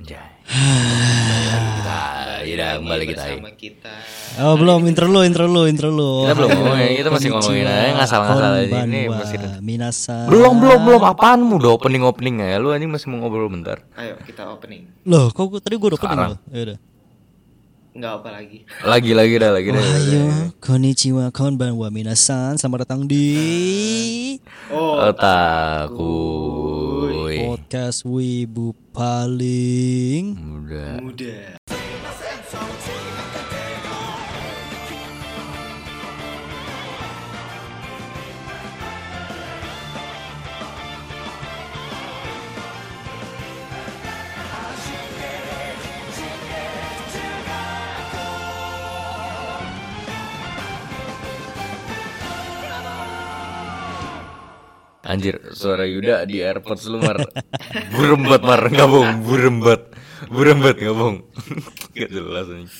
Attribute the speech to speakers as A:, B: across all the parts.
A: Anjay. kita kembali kita.
B: bersama kita.
C: Oh belum intro lu intro lu intro lu. Oh.
A: Kita belum ngomongin, kita masih ngomongin aja ngasal-ngasal aja ini masih
C: Minasa.
A: belum belum belum apaanmu udah opening opening ya lu anjing masih mau ngobrol bentar
B: Ayo kita opening.
C: Loh, kok gua- tadi gua udah pening
A: Sekarang.
C: loh. Ya udah.
B: Nggak apa lagi.
A: lagi lagi dah lagi dah
C: Ayo, konnichiwa konbanwa minasan. Selamat datang di
A: iya.
B: Oh,
A: otakku
C: podcast Wibu paling.
A: udah
B: muda.
A: Anjir, suara Yuda di AirPods lu mar. Burem banget mar, enggak bohong, burem banget. Burem banget enggak bohong. Enggak jelas anjing.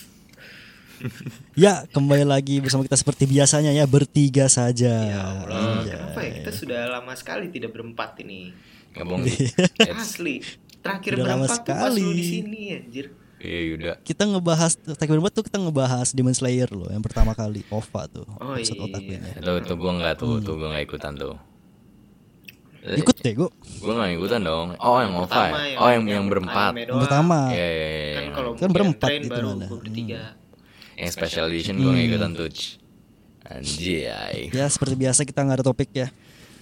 C: Ya, kembali lagi bersama kita seperti biasanya ya bertiga saja.
A: Ya
B: Allah,
C: Iya.
B: kenapa ya kita sudah lama sekali tidak berempat ini?
A: Enggak bohong. It's-
B: Asli. Terakhir
C: Udah lama
B: berempat tuh pas lu
C: sekali.
B: di sini anjir.
A: Iya Yuda.
C: Kita ngebahas Terakhir berbuat tuh kita ngebahas Demon Slayer loh yang pertama kali OVA tuh.
B: Oh,
C: episode
B: iya.
C: otaku ini.
A: Itu itu gua enggak tuh, tuh gua enggak ikutan tuh. Eh,
C: Ikut deh gua.
A: Gua enggak ikutan dong. Oh, yang OVA. ya?
B: Pertama
A: Oh, yang yang berempat.
B: anime
C: Yang
B: doang.
C: pertama.
A: Iya, iya, iya.
B: Kan
A: yang-
B: kalau
C: Kan
B: yang
C: berempat
B: train
C: gitu
B: baru
C: mana. Hmm.
B: gua bertiga.
A: Yang special edition Hmm. gua enggak ikutan tuh. Anjay.
C: Ya, seperti biasa kita nggak ada topik ya.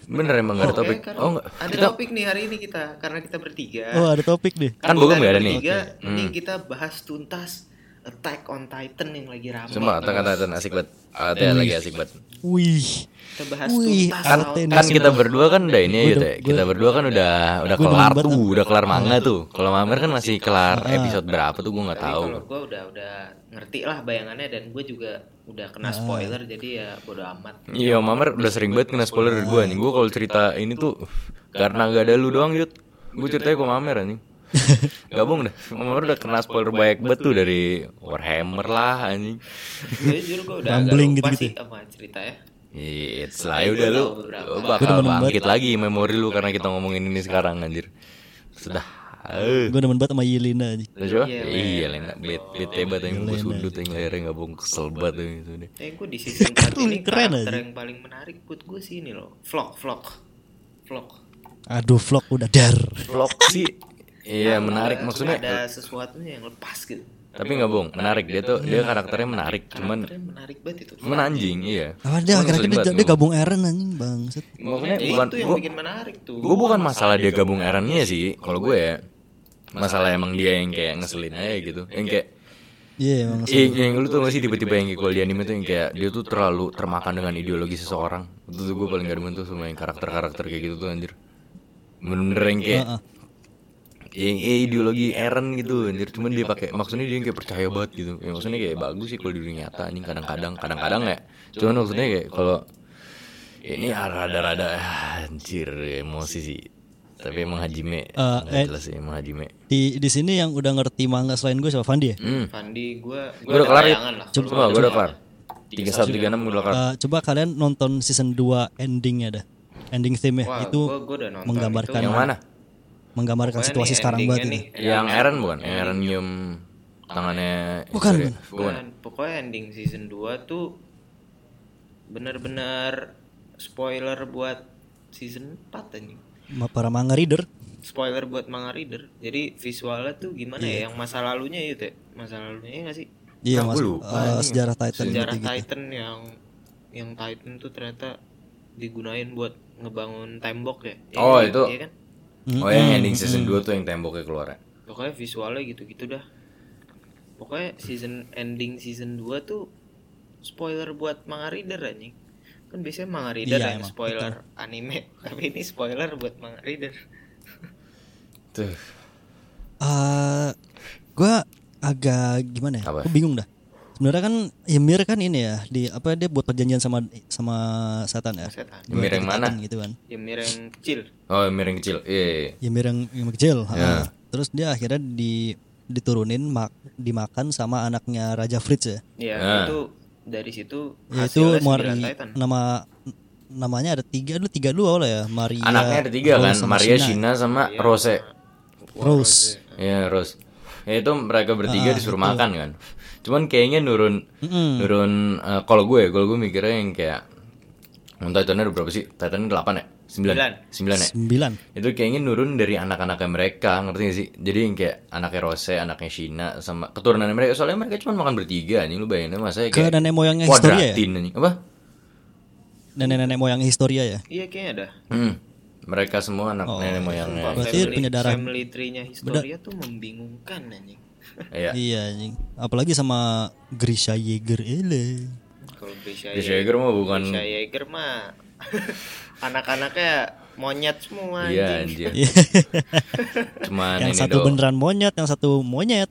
A: Bener emang enggak ada
B: Oke,
A: topik.
B: karena
A: Oh, enggak.
B: Ada
A: Kita
B: topik nih hari ini kita karena kita bertiga.
A: Ya.
C: Oh, ada topik deh.
A: kan Bogem
B: kita
A: nggak ada nih.
B: bertiga,
A: Oke. Hmm.
B: Ini kita bahas tuntas Attack on Titan yang lagi ramai.
A: Cuma kata-kata asik banget. Ada Iya, lagi asik banget.
C: Wih.
B: Kita bahas
C: Wih,
B: tuntas
A: kan,
C: Asal
B: lawan-
A: kan kita berdua kan udah ini ya
C: Gua
A: Yud,
C: udah-
A: ya. kita berdua kan udah udah
C: Gua
A: kelar
C: demen
A: tuh
C: banget.
A: udah kelar manga tuh kalau Mamer kan masih kelar episode berapa tuh gue nggak
B: Tapi
A: tahu
B: kalau gue udah udah ngerti lah bayangannya dan gue juga udah
C: Nah.
B: kena spoiler jadi ya bodo amat.
A: iya Mamer udah sering banget kena spoiler dari gue nih gue kalau cerita ini tuh karena gak ada lu doang Yud gue ceritanya ke Mamer anjing gabung dah Mamer udah kena spoiler banyak banget tuh iya. dari Warhammer lah anjing
B: Gue Iya, jujur gue udah agak
C: Rambling
B: lupa
C: gitu-gitu.
B: sih sama cerita ya.
A: It's lah ya udah lu, lu bakal
C: Gua demen banget.
A: bangkit lagi memori lu karena kita ngomongin ini sekarang anjir sudah eh.
C: Gue demen banget sama Yelena anjing.
A: Udah coba?
B: Iya,
A: Iya, Lena. Bet, bete banget yang gue sundut yang lehernya nggak bong kesel banget yang itu deh.
B: Eh gue di season 4 ini
C: Keren
B: karakter
C: aja.
B: yang paling menarik buat gue sih ini loh. Vlog, vlog, vlog.
C: Aduh, vlog udah dar.
A: Vlog sih. Iya menarik maksudnya,
B: Ada sesuatu yang lepas gitu.
A: tapi nggak bohong. Menarik dia tuh, dia karakternya menarik, cuman
B: Keren menarik banget itu.
A: cuman anjing, iya.
C: Apa dia
A: Cuman
C: akhir-akhir
A: ngeselin
C: dia,
A: banget
C: dia
A: gua.
C: gabung Eren anjing bangset.
A: Maksudnya
B: Eh,
A: bukan,
B: itu yang
A: gua-
B: bikin menarik tuh.
A: gue bukan masalah dia gabung Erannya sih kalau gue ya masalah emang dia yang kayak ngeselin aja gitu yang kayak
C: Iya, emang
A: eh, yang lu tuh masih tiba-tiba yang kayak kalau di anime tuh yang kayak dia tuh terlalu termakan dengan ideologi seseorang itu tuh gue paling gak demen tuh sama yang karakter-karakter kayak gitu tuh anjir bener-bener yang kayak
C: Heeh.
A: yang eh, ideologi Eren gitu anjir cuman dia pakai maksudnya dia yang kayak percaya banget gitu ya, maksudnya kayak bagus sih kalau di dunia nyata anjing kadang-kadang kadang-kadang ya cuman maksudnya kayak kalau ya ini rada-rada ah, anjir emosi sih tapi emang Hajime nggak
C: eh.
A: jelas sih emang Hajime
C: Di di sini yang udah ngerti manga selain gue siapa Fandi ya?
A: hmm.
B: Fandi gue
A: gue udah kelar ya
B: Coba
A: coba gue udah kelar tiga satu tiga enam gue udah kelar
C: Eh, coba kalian nonton season 2 endingnya dah. Ending theme
B: Wah,
C: ya. Itu
B: gua- gua udah nonton
C: menggambarkan
A: yang mana
C: menggambarkan
B: Pokoknya
C: situasi
B: nih,
C: sekarang
B: endingnya
C: banget ya.
B: nih.
C: ini.
A: yang Eren bukan yang Eren nyium tangannya
C: Bukan,
A: Sorry, bukan
B: Bukan, pokoknya ending season 2 tuh bener-bener spoiler buat season 4 anjing.
C: Ma- Para manga reader
B: Spoiler buat manga reader. Jadi visualnya tuh gimana ya yang masa lalunya itu ya? Masa lalunya ya nggak sih?
C: Iya,
A: Ah,
C: Mas.
A: gua lupa
C: Eh, sejarah Titan
B: Sejarah
C: gitu.
B: Titan yang yang Titan tuh ternyata digunain buat ngebangun tembok ya. Iya
A: Oh,
B: kan?
A: itu.
B: Iya kan?
C: Mm.
A: oh yang
C: Hmm.
A: ending season 2 tuh yang temboknya keluar ya
B: Pokoknya visualnya gitu-gitu dah. Pokoknya season ending season 2 tuh spoiler buat manga reader anjing. Kan biasanya manga reader
C: Iya,
B: yang
C: emang,
B: spoiler anime, tapi ini spoiler buat manga reader.
A: tuh
C: Eh, gua agak gimana ya?
A: Apa?
C: Gua bingung dah. Sebenarnya kan Ymir kan ini ya di apa dia buat perjanjian sama sama setan ya.
B: Setan.
C: Buat
A: Ymir yang
C: Titan
A: mana?
C: gitu kan.
B: Ymir yang kecil.
A: Oh, yang miring kecil. Iya, Iya. iya.
C: Ymir yang, yang kecil. ha.
A: Ya.
C: Terus dia akhirnya di diturunin mak, dimakan sama anaknya Raja Fritz ya.
B: Ya,
A: Nah.
B: itu dari situ
C: Yaitu
B: hasilnya kan.
C: Mari
B: sembilan Titan.
C: nama namanya ada tiga dulu tiga dulu awalnya ya Maria
A: Anaknya ada tiga
C: Rose
A: kan,
C: sama
A: Maria,
C: Shina.
A: Shina sama Rose.
C: Rose
A: Iya, Rose. Ya itu mereka bertiga
C: Ah,
A: disuruh
C: betul.
A: makan kan. Cuman kayaknya nurun
C: Mm-mm.
A: nurun eh, kalau gue kalau gue mikirnya yang kayak Entah Titannya ada berapa sih? Titannya 8 ya? 9. 9, ya?
C: Sembilan.
A: itu kayaknya nurun dari anak-anaknya mereka ngerti gak sih jadi yang kayak anaknya Rose anaknya Shina sama keturunan mereka soalnya mereka cuma makan bertiga nih lu bayangin masa kayak
C: Ke nenek moyangnya historia ya?
A: kuadratin anjing. apa
C: Nenek-nenek moyang historia ya.
B: Iya kayaknya ada.
A: hmm. mereka semua anak
C: Oh, iya,
A: nenek ya. moyangnya
C: Berarti punya darah.
B: family tree-nya historia tuh membingungkan anjing.
A: iya
C: Iya anjing. Apalagi sama Grisha Yeager ele.
B: Kalau Grisha
A: Grisha Yeager mah bukan-
B: Grisha Yeager mah anak-anaknya monyet semua
A: iya
B: anjing.
A: anjir cuman
C: yang
A: ini
C: satu
A: doang.
C: beneran monyet, yang satu monyet.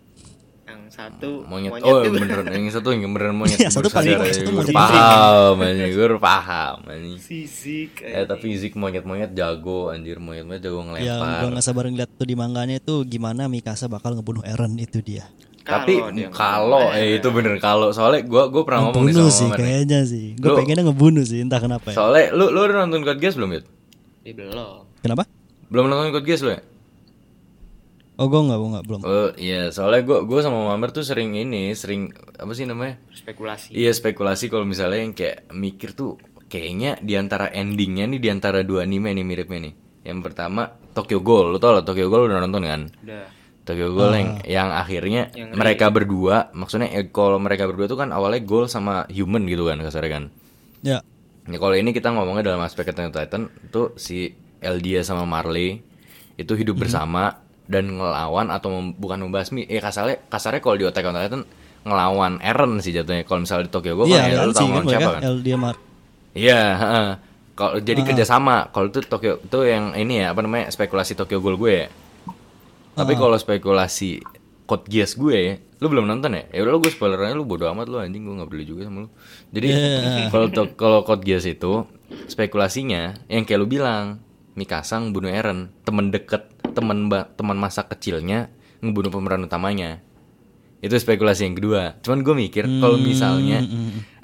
B: Yang satu
A: monyet,
B: monyet
A: oh
B: tuh
A: beneran yang satu yang beneran monyet
C: Yang satu
A: Baru
C: paling-
A: sadar
C: yang
A: ya,
C: satu
A: gue
C: monyet.
A: paham anjing gue baru paham anjing
B: Sizik
A: eh tapi Zik monyet-monyet jago anjir monyet-monyet jago
C: Yang Iya, gua
A: ngelempar
C: nggak sabar ngeliat tuh di manganya itu gimana Mikasa bakal ngebunuh Eren itu dia.
A: tapi
B: dia
A: kalau eh itu bener kalau soalnya gue gue pernah ngomong nih
C: Ngebunuh
A: Nah, sama
C: sih
A: Mamer nih.
C: kayaknya sih. Gue
A: Lu-
C: pengennya ngebunuh sih entah kenapa ya.
A: Soalnya lu lu udah nonton Code Geass belum, Yud?
B: Dia belum.
C: Kenapa?
A: Belum nonton Code Geass lu ya?
C: Oh gue nggak, gua nggak belum.
A: Oh, iya, soalnya gua gua sama Mamer tuh sering ini, sering apa sih namanya?
B: Spekulasi.
A: Iya, spekulasi kalau misalnya yang kayak mikir tuh kayaknya di antara endingnya nih di antara dua anime nih miripnya nih. Yang pertama Tokyo Ghoul, lu tau lah Tokyo Ghoul udah nonton kan?
B: Udah.
A: Tokyo Ghoul yang yang akhirnya mereka berdua, maksudnya eh, kalau mereka berdua tuh kan awalnya Ghoul sama human gitu kan kasarnya kan.
C: Ya.
A: Ya kalau ini kita ngomongnya dalam aspek Attack on Titan itu si Eldia sama Marley itu
C: Mhm.
A: hidup bersama dan ngelawan atau mem- bukan membasmi. Eh kasarnya kasarnya kalau di Attack on Titan ngelawan Eren sih jatuhnya. Kalau misalnya di Tokyo Ghoul
C: Iya,
A: kan Eren
C: kan
A: tahu
C: sih kan
A: ngelawan siapa kan?
C: mereka LDMR.
A: Iya, heeh. Kalau jadi kerjasama. Kalau itu Tokyo itu yang ini ya apa namanya spekulasi Tokyo Ghoul gue. ya. Tapi kalau spekulasi Code Geass gue ya, lu belum nonton ya? Ya udah lu gue spoilernya lu bodo amat lu anjing gue nggak peduli juga sama lu. Jadi kalau to- kalau Code Geass itu spekulasinya yang kayak lu bilang Mikasa ngebunuh Eren, temen deket, temen ba- teman masa kecilnya ngebunuh pemeran utamanya. Itu spekulasi yang kedua. Cuman gue mikir kalau misalnya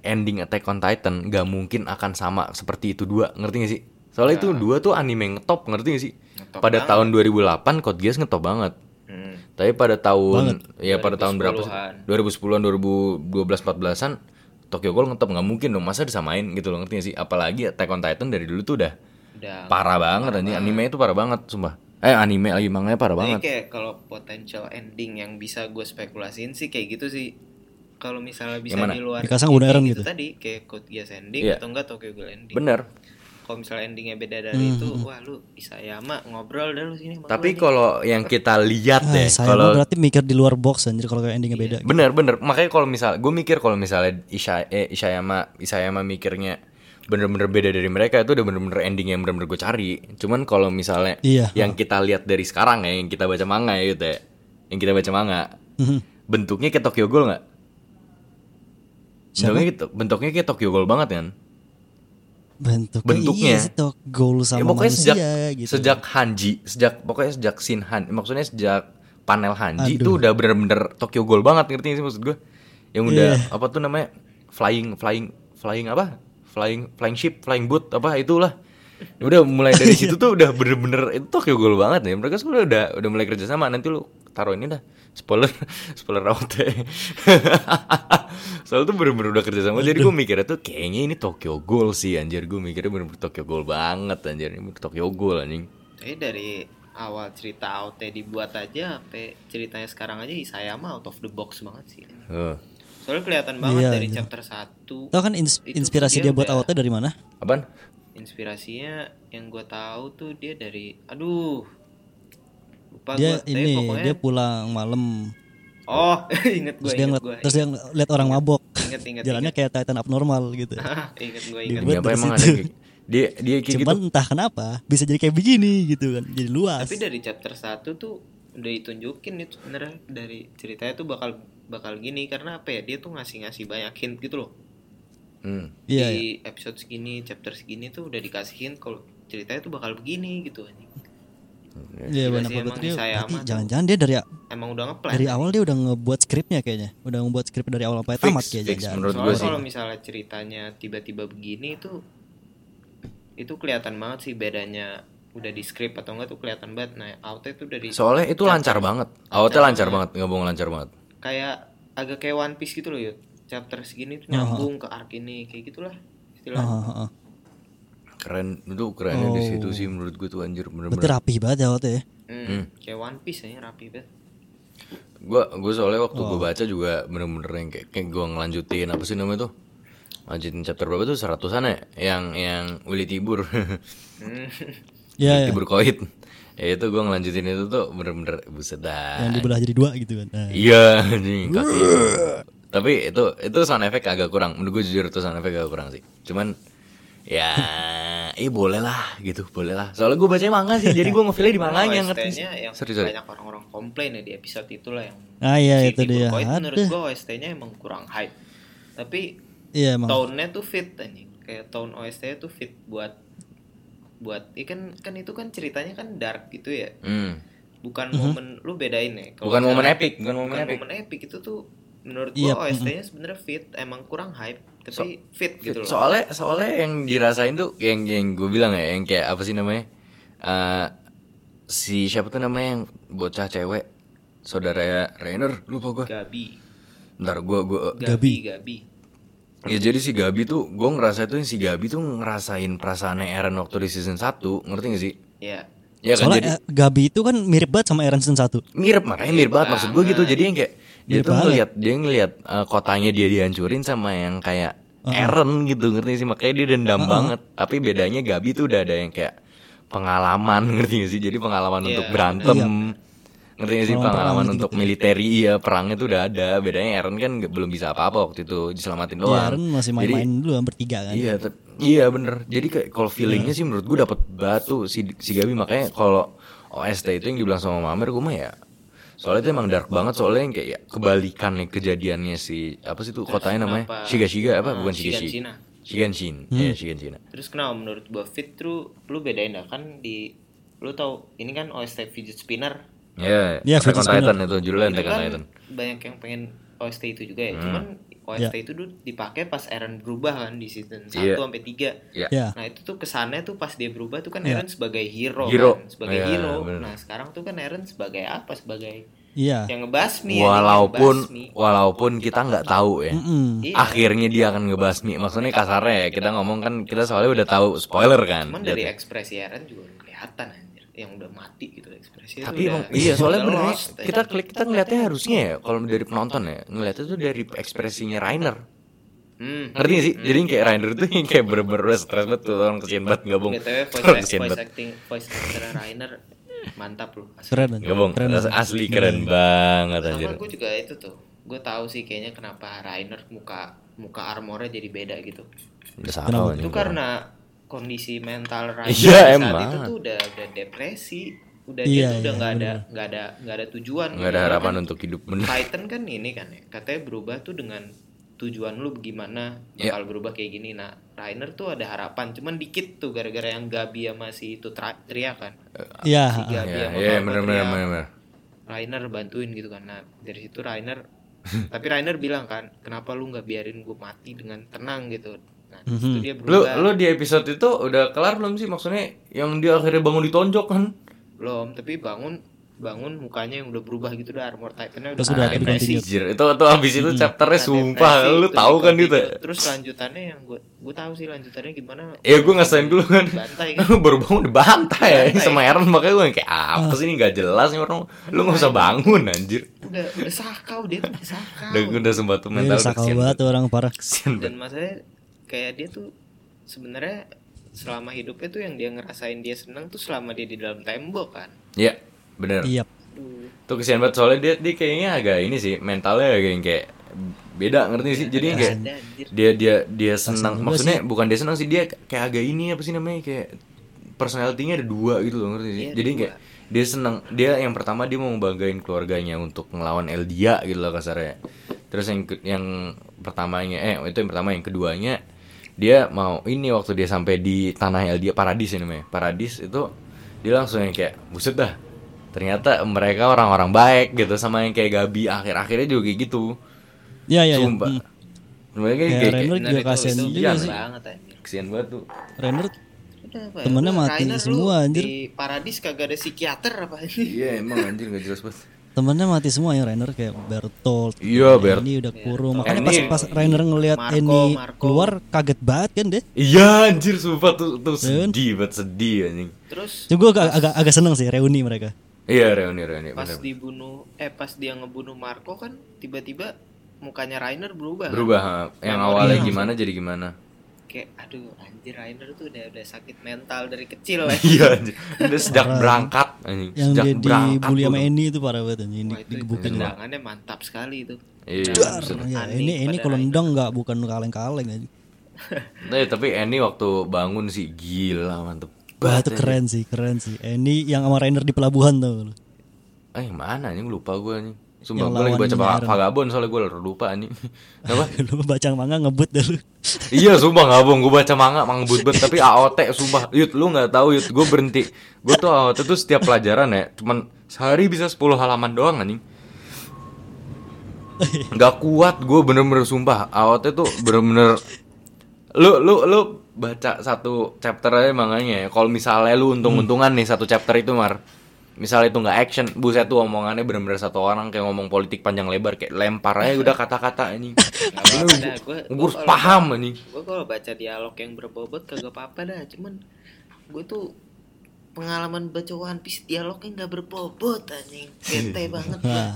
A: ending Attack on Titan gak mungkin akan sama seperti itu dua, ngerti gak sih? Soalnya itu dua tuh anime yang Iya. ngetop, ngerti gak sih? pada tahun 2008 Code Geass ngetop banget.
B: Hmm.
A: Tapi pada tahun ya pada tahun berapa sih? 2010-an,
B: 2010-an.
A: 2012, 14-an Tokyo Ghoul ngetop nggak mungkin dong masa disamain gitu loh ngerti gak sih? Apalagi Attack on Titan dari dulu tuh udah
B: Udah.
A: parah banget anjing anime itu parah banget sumpah. Eh anime lagi manganya parah
B: Tapi
A: banget.
B: Iya, kayak kalau potential ending yang bisa gue spekulasiin sih kayak gitu sih. Kalau misalnya bisa
A: Yang mana?
B: di luar
C: Mikasa ngebunuh
B: ending
C: Eren
B: itu
C: gitu.
B: tadi kayak Code Geass ending
A: Iya.
B: atau enggak Tokyo Ghoul ending.
A: Bener.
B: Kalau misalnya endingnya beda dari
C: Hmm,
B: itu, wah lu bisa ya mak ngobrol dah lu sini. sama
A: Tapi
B: gua nih.
A: kalau yang kita lihat
C: Ah,
A: deh
C: saya
A: kalau Iya.
C: mah berarti mikir di luar box anjir kalau kayak gitu. endingnya beda.
A: Bener bener makanya kalau misal gue mikir kalau misalnya Isha eh, Ishayama Ishayama mikirnya bener-bener beda dari mereka itu udah bener-bener ending yang bener-bener gue cari. Cuman kalau misalnya
C: Iya.
A: yang kita lihat dari sekarang ya yang kita baca manga ya gitu ya, yang kita baca manga
C: Mhm.
A: bentuknya kayak Tokyo Ghoul nggak? Bentuknya, gitu- bentuknya kayak Tokyo Ghoul banget kan?
C: Bentuknya,
A: Bentuknya.
C: iya sih Tok. goal sama
A: ya, pokoknya
C: manusia
A: sejak
C: gitu.
A: sejak Hanji, sejak pokoknya sejak Shin Han, maksudnya sejak panel Hanji
C: Aduh.
A: itu udah bener-bener Tokyo Ghoul banget ngerti gak sih maksud gue? Yang udah apa tuh namanya flying flying flying apa? Flying flying ship, flying boat apa itulah. Udah mulai dari situ tuh udah bener-bener itu Tokyo Ghoul banget ya. Mereka sebenarnya udah udah mulai kerja sama. Nanti lu taruh ini dah spoiler spoiler out ya. Soalnya tuh bener-bener udah kerja sama. Jadi gue mikirnya tuh kayaknya ini Tokyo Ghoul sih anjir. Gue mikirnya bener-bener Tokyo Ghoul banget anjir. Ini bener Tokyo Ghoul anjing.
B: Tapi dari awal cerita out dibuat aja sampai ceritanya sekarang aja Isayama out of the box banget sih.
A: Heeh.
B: Soalnya kelihatan banget
C: Iya,
B: dari
C: iya.
B: chapter 1
C: Tau kan ins-
B: Itu
C: inspirasi dia,
B: dia
C: buat
B: udah-
C: awalnya dari mana?
A: Apaan?
B: inspirasinya yang gue tahu tuh dia dari aduh lupa
C: Dia
B: gua, tapi
C: ini
B: pokoknya
C: dia pulang malam
B: oh inget
C: terus
B: gue
C: dia
B: inget
C: ngeliat,
B: gue
C: terus dia lihat orang mabok.
B: Ingat, ingat,
C: Jalannya kayak Titan abnormal gitu.
B: inget gue
C: Dia
B: inget
A: Ini
C: buat
A: apa
C: dari
A: emang ada
C: situ.
A: yang kayak- gitu? dia dia kayak gitu.
C: Cuman entah kenapa bisa jadi kayak begini gitu kan. Jadi luas.
B: tapi dari chapter 1 tuh udah ditunjukin itu sebenarnya dari ceritanya tuh bakal bakal gini karena apa ya dia tuh ngasih ngasih banyak hint gitu loh
A: Hmm.
C: Iya. iya.
B: di episode segini chapter segini tuh udah dikasihin kalau ceritanya tuh bakal begini gitu anjing
C: Iya
B: Gila
C: benar
B: sih,
C: banget
B: emang
C: dia.
B: Isayama
C: berarti
B: tuh.
C: jangan-jangan dia dari
B: emang udah ngeplan
C: dari awal dia udah ngebuat skripnya kayaknya. Udah ngebuat skrip dari awal sampai
A: Fix,
C: tamat
A: fix,
C: kayaknya. jangan.
A: menurut gue
B: Soalnya
A: sih.
B: kalau misalnya ceritanya tiba-tiba begini itu itu kelihatan banget sih bedanya udah di script atau enggak tuh kelihatan banget nah outnya tuh dari
A: Iya. Soalnya itu lancar banget. Awalnya Oh, lancar banget, nggak bohong lancar banget.
B: kayak agak kayak One Piece gitu loh yuk chapter segini tuh nyambung ke arc ini kayak gitulah istilahnya
C: Ah, ah, ah.
A: Keren itu kerennya
C: Oh.
A: di situ sih menurut gue tuh anjir
C: Berarti
A: bener-bener.
C: rapi banget ya waktu ya.
B: Hmm, kayak One Piece aja rapi banget
A: Gue gue soalnya waktu
C: Oh.
A: gue baca juga bener-bener yang kayak, kayak gue ngelanjutin apa sih namanya tuh? Lanjutin chapter berapa tuh seratusan ya? Yang yang Uli Tibur.
B: Hmm.
C: Iya,
A: Uli Tibur koit. Ya itu gue ngelanjutin itu tuh bener-bener buset dah.
C: yang dibelah jadi dua gitu kan. Nah,
A: Iya anjing kaki. Tapi itu itu sound effect agak kurang. Menurut gue jujur itu sound effect agak kurang sih. Cuman ya eh boleh lah gitu, boleh lah. Soalnya gue bacanya manga sih, jadi gue ngefilnya di
C: Ah,
A: manga yang ngerti. sih.
B: OST-nya yang
A: Sorry, sorry.
B: banyak orang-orang komplain ya di episode itulah yang
C: Ah, iya, itu
B: Tibur
C: dia.
B: Koit menurut
C: Aduh.
B: gua OST-nya emang kurang hype tapi
C: iya emang.
B: tone-nya tuh fit anjing kayak tone OST-nya tuh fit buat buat ya kan kan itu kan ceritanya kan dark gitu ya
A: Hmm.
B: bukan momen lu bedain ya kalau
A: Bukan
B: misalnya
A: momen epic, bukan momen
B: bukan
A: epic.
B: momen epic itu tuh menurut
C: Iya,
B: gua OST-nya sebenarnya fit emang kurang hype tapi fit gitu loh
A: Soalnya soalnya yang dirasain tuh yang yang gue bilang ya, yang kayak apa sih namanya? Eh si siapa tuh namanya yang bocah cewek saudara Rainer lupa gue
B: Gabi
A: ntar gue gue
B: Gabi Gabi
A: Ya jadi si Gabi tuh, gue ngerasa tuh si Gabi tuh ngerasain perasaannya Eren waktu di season 1, ngerti gak sih?
B: ya
A: Ya kan jadi
C: Soalnya eh, Gabi itu kan mirip banget sama Aaron season 1.
A: mirip makanya mirip banget maksud gue gitu. Jadi yang kayak dia tuh
C: Mirip banget.
A: ngeliat dia ngeliat eh, kotanya dia dihancurin sama yang kayak
C: Uh-huh.
A: Eren gitu, ngerti sih? Makanya dia dendam banget. Tapi bedanya Gabi tuh udah ada yang kayak pengalaman, ngerti gak sih? Jadi pengalaman untuk berantem.
C: Iya.
A: Ngerti gak sih pengalaman untuk militeri ya perangnya tuh udah ada. Bedanya Eren kan nggak- belum bisa apa-apa waktu itu diselamatin doang.
C: Ya, Aaron masih
A: Jadi-
C: main-main dulu kan bertiga kan.
A: Iya, tep- iya bener. Jadi kayak kalau feelingnya sih menurut gue dapet batu si si Gabi makanya kalau OST itu yang dibilang sama Mamer gue mah ya. Soalnya itu emang dark banget soalnya yang kayak ya, kebalikan nih kejadiannya si apa sih tuh kotanya namanya
B: kenapa-
A: Shiga Shiga apa
B: Ah,
A: bukan Shiga Shiga
B: Shiganshina.
A: Shiganshin
C: Hmm.
A: ya Shiganshina.
B: terus kenapa menurut gua fit tuh lu bedain dah kan di lu tahu ini kan OST fidget spinner
A: Ya,
C: Iya,
A: Attack on
C: Fidget Spinner.
A: Titan itu judulnya
B: itu
A: Attack on
B: kan
A: Iya, Titan. Hmm.
B: banyak yang pengen OST itu juga ya cuman OST itu dulu dipakai pas Eren berubah kan di season 1
A: Iya.
B: sampai 3
A: Ya.
C: Iya.
B: Nah itu tuh kesannya tuh pas dia berubah tuh kan
C: Iya.
B: Eren sebagai hero,
A: Hero.
B: kan? sebagai
A: Iya,
B: hero.
A: bener.
B: Nah sekarang tuh kan Eren sebagai apa? Sebagai
C: Iya.
B: yang ngebasmi. ya,
A: Walaupun
B: yang ngebasmi.
A: walaupun kita nggak tahu ya.
C: Mm-mm.
B: Iya.
A: Akhirnya dia akan ngebasmi. Maksudnya kasarnya ya kita ngomong kan kita soalnya udah tahu spoiler kan.
B: cuman dari
A: Jatuh.
B: ekspresi Eren juga udah kelihatan anjir, yang udah mati gitu ekspresinya.
A: tapi
B: tuh
A: emang
B: udah-
A: iya soalnya
B: udah
A: bener
B: lost, anjir.
A: kita klik kita ngeliatnya harusnya ya kalau dari penonton ya ngeliatnya tuh dari ekspresinya Rainer
B: Hmm.
A: ngerti gak sih jadi kayak Rainer tuh yang kayak bener-bener udah stres banget tuh orang kesian banget gabung
B: BTW voice,
A: orang kesian
B: voice
A: banget
B: acting voice actor Rainer mantap loh. Asli.
C: Keren. anjir.
A: gabung
C: Keren. anjir.
A: asli keren banget anjir
B: Iya. Sama gue juga itu tuh. Gue tahu sih kayaknya kenapa Rainer muka muka armornya jadi beda gitu.
A: udah sama nih
B: itu karena kondisi mental Ryan
A: Iya,
B: saat
A: emang.
B: itu tuh udah udah depresi udah
C: Iya,
B: dia tuh udah
C: iya,
B: nggak ada
C: bener.
B: nggak ada nggak ada tujuan
A: nggak ada
B: Karena
A: harapan
B: kan
A: untuk hidup bener
B: Titan kan ini kan ya katanya berubah tuh dengan tujuan lu gimana
A: Iya.
B: bakal berubah kayak gini nah Rainer tuh ada harapan cuman dikit tuh gara-gara yang Gabi sama si itu tra- teriak kan
C: Iya.
B: si Gabi
A: ya
B: sama
A: ya
B: Papa
A: bener-bener
B: teriak,
A: bener-bener
B: Rainer bantuin gitu kan nah dari situ Rainer tapi Rainer bilang kan kenapa lu nggak biarin gue mati dengan tenang gitu nah di situ dia
A: Mhm. lu
B: berubah
A: lu di episode itu udah kelar belum sih maksudnya yang dia akhirnya bangun ditonjok kan
B: belum tapi bangun bangun mukanya yang udah berubah gitu udah armor titannya
C: Terus udah Hmm.
B: udah
C: ada
A: Anjir,
C: continued.
A: itu itu abis itu chapternya sumpah lu tahu kan gitu ya?
B: terus lanjutannya yang gue gue tahu sih lanjutannya gimana
A: Ya gue ngesain dulu kan
B: Bantai kan?
A: Lu baru bangun dibantai ya
B: Bantai.
A: Sama Aaron makanya gue kayak Apa sih ini gak jelas nih orang Lu gak usah bangun anjir
B: udah udah sakau dia tuh udah sakau
A: Udah gue udah sempat tuh
C: Iya,
A: mental udah
C: sakal
A: kesian
C: banget tuh orang parah.
A: Kesian banget.
B: dan masalahnya kayak dia tuh sebenarnya selama hidupnya tuh yang dia ngerasain dia seneng tuh selama dia di dalam tembok kan
A: Iya bener
C: Iya.
B: Aduh,
A: Tuh kesian banget soalnya dia, dia kayaknya agak ini sih Mentalnya agak yang kayak Beda ngerti sih Jadi
B: nggak
A: kayak
B: Iya ada anjir
A: Dia dia dia senang
C: juga
A: Maksudnya bukan dia senang sih Dia kayak agak ini apa sih namanya Kayak personality-nya ada dua gitu loh ngerti sih
B: Iya,
A: Jadi
B: dua.
A: kayak dia senang dia yang pertama dia mau membanggain keluarganya untuk ngelawan Eldia gitu loh kasarnya terus yang ke- yang pertamanya eh itu yang pertama yang keduanya dia mau ini waktu dia sampai di tanah Eldia paradis ini namanya paradis itu dia langsung yang kayak buset dah ternyata mereka orang-orang baik gitu sama yang kayak Gabi akhir-akhirnya juga kayak gitu
C: Iya, iya, iya.
A: sumpah
C: Hmm.
A: Mereka
C: Ya,
A: kayak, kayak
C: Rainer juga
B: itu-
C: kasihan
B: itu
C: juga
B: kesian
C: sih.
B: banget anjir
A: kesian banget tuh
C: Rainer
B: Udah, Pak.
C: Temennya
B: Udah,
C: mati
B: Rainer, lu
C: semua, anjir.
B: Di Paradis kagak ada psikiater apa ini?
A: Iya emang anjir gak jelas banget.
C: Temennya mati semua ya Rainer kayak Bertolt.
A: Iya, Bert.
C: Ini udah kurung.
B: Bertolt.
C: Makanya
A: Ini-
C: pas pas Rainer ngelihat
B: Marco,
C: Eni
B: Marco.
C: keluar kaget banget kan deh.
A: Iya anjir sumpah tuh, tuh sedih banget sedih anjing.
B: Terus
C: Cuma gue agak, agak agak seneng sih reuni mereka.
A: Iya reuni reuni.
B: pas
A: bener.
B: dibunuh eh pas dia ngebunuh Marco kan tiba-tiba mukanya Rainer berubah. kan?
A: Berubah ha. yang awalnya
C: Iya.
A: gimana jadi gimana?
B: Kayak aduh anjir Rainer tuh udah udah sakit mental dari kecil ya. lah.
A: Iya anjir. Udah sejak berangkat anjing.
C: Yang
A: sejak
C: dia dibully
A: tuh.
C: sama Eni itu parah banget anjing
B: Wah, itu itu
C: digebukin.
B: tendangannya mantap sekali itu.
A: Iya.
B: Dar.
A: bener.
C: Ya,
B: Aneh
C: ini ini
B: pada
C: kalau
B: Rainer.
C: nendang nggak bukan kaleng-kaleng anjing.
A: Eh, tapi Eni waktu bangun sih gila mantep.
C: Wah
A: banget,
C: itu
A: anjing.
C: keren sih, keren sih. Eni yang sama Rainer di pelabuhan tuh.
A: Eh yang mana anjing lupa gue anjing. Sumpah
C: Yang
A: gue lagi
C: lawan
A: baca Vaga-
C: Iron.
A: Vagabond soalnya gue lupa anjing. Apa?
C: lu baca manga ngebut dah lu.
A: iya sumpah nggak bohong gue baca manga manga but tapi AOT sumpah Yud lu nggak tahu Yud gue berhenti gue tuh AOT tuh setiap pelajaran ya cuman sehari bisa 10 halaman doang anjing nggak kuat gue bener-bener sumpah AOT tuh bener-bener lu lu lu baca satu chapter aja manganya ya kalau misalnya lu untung-untungan nih satu chapter itu mar misalnya itu nggak action buset tuh omongannya bener-bener satu orang kayak ngomong politik panjang lebar kayak lempar aja udah kata-kata anjing
B: apa-apa
A: Bener,
B: dah,
A: gua-
B: gua-
A: gua
B: gua
A: harus
B: kalau-
A: paham anjing
B: gue kalau baca dialog yang berbobot kagak apa-apa dah cuman gue tuh pengalaman baca One Piece dialognya nggak berbobot anjing bete banget gua.
C: Nah,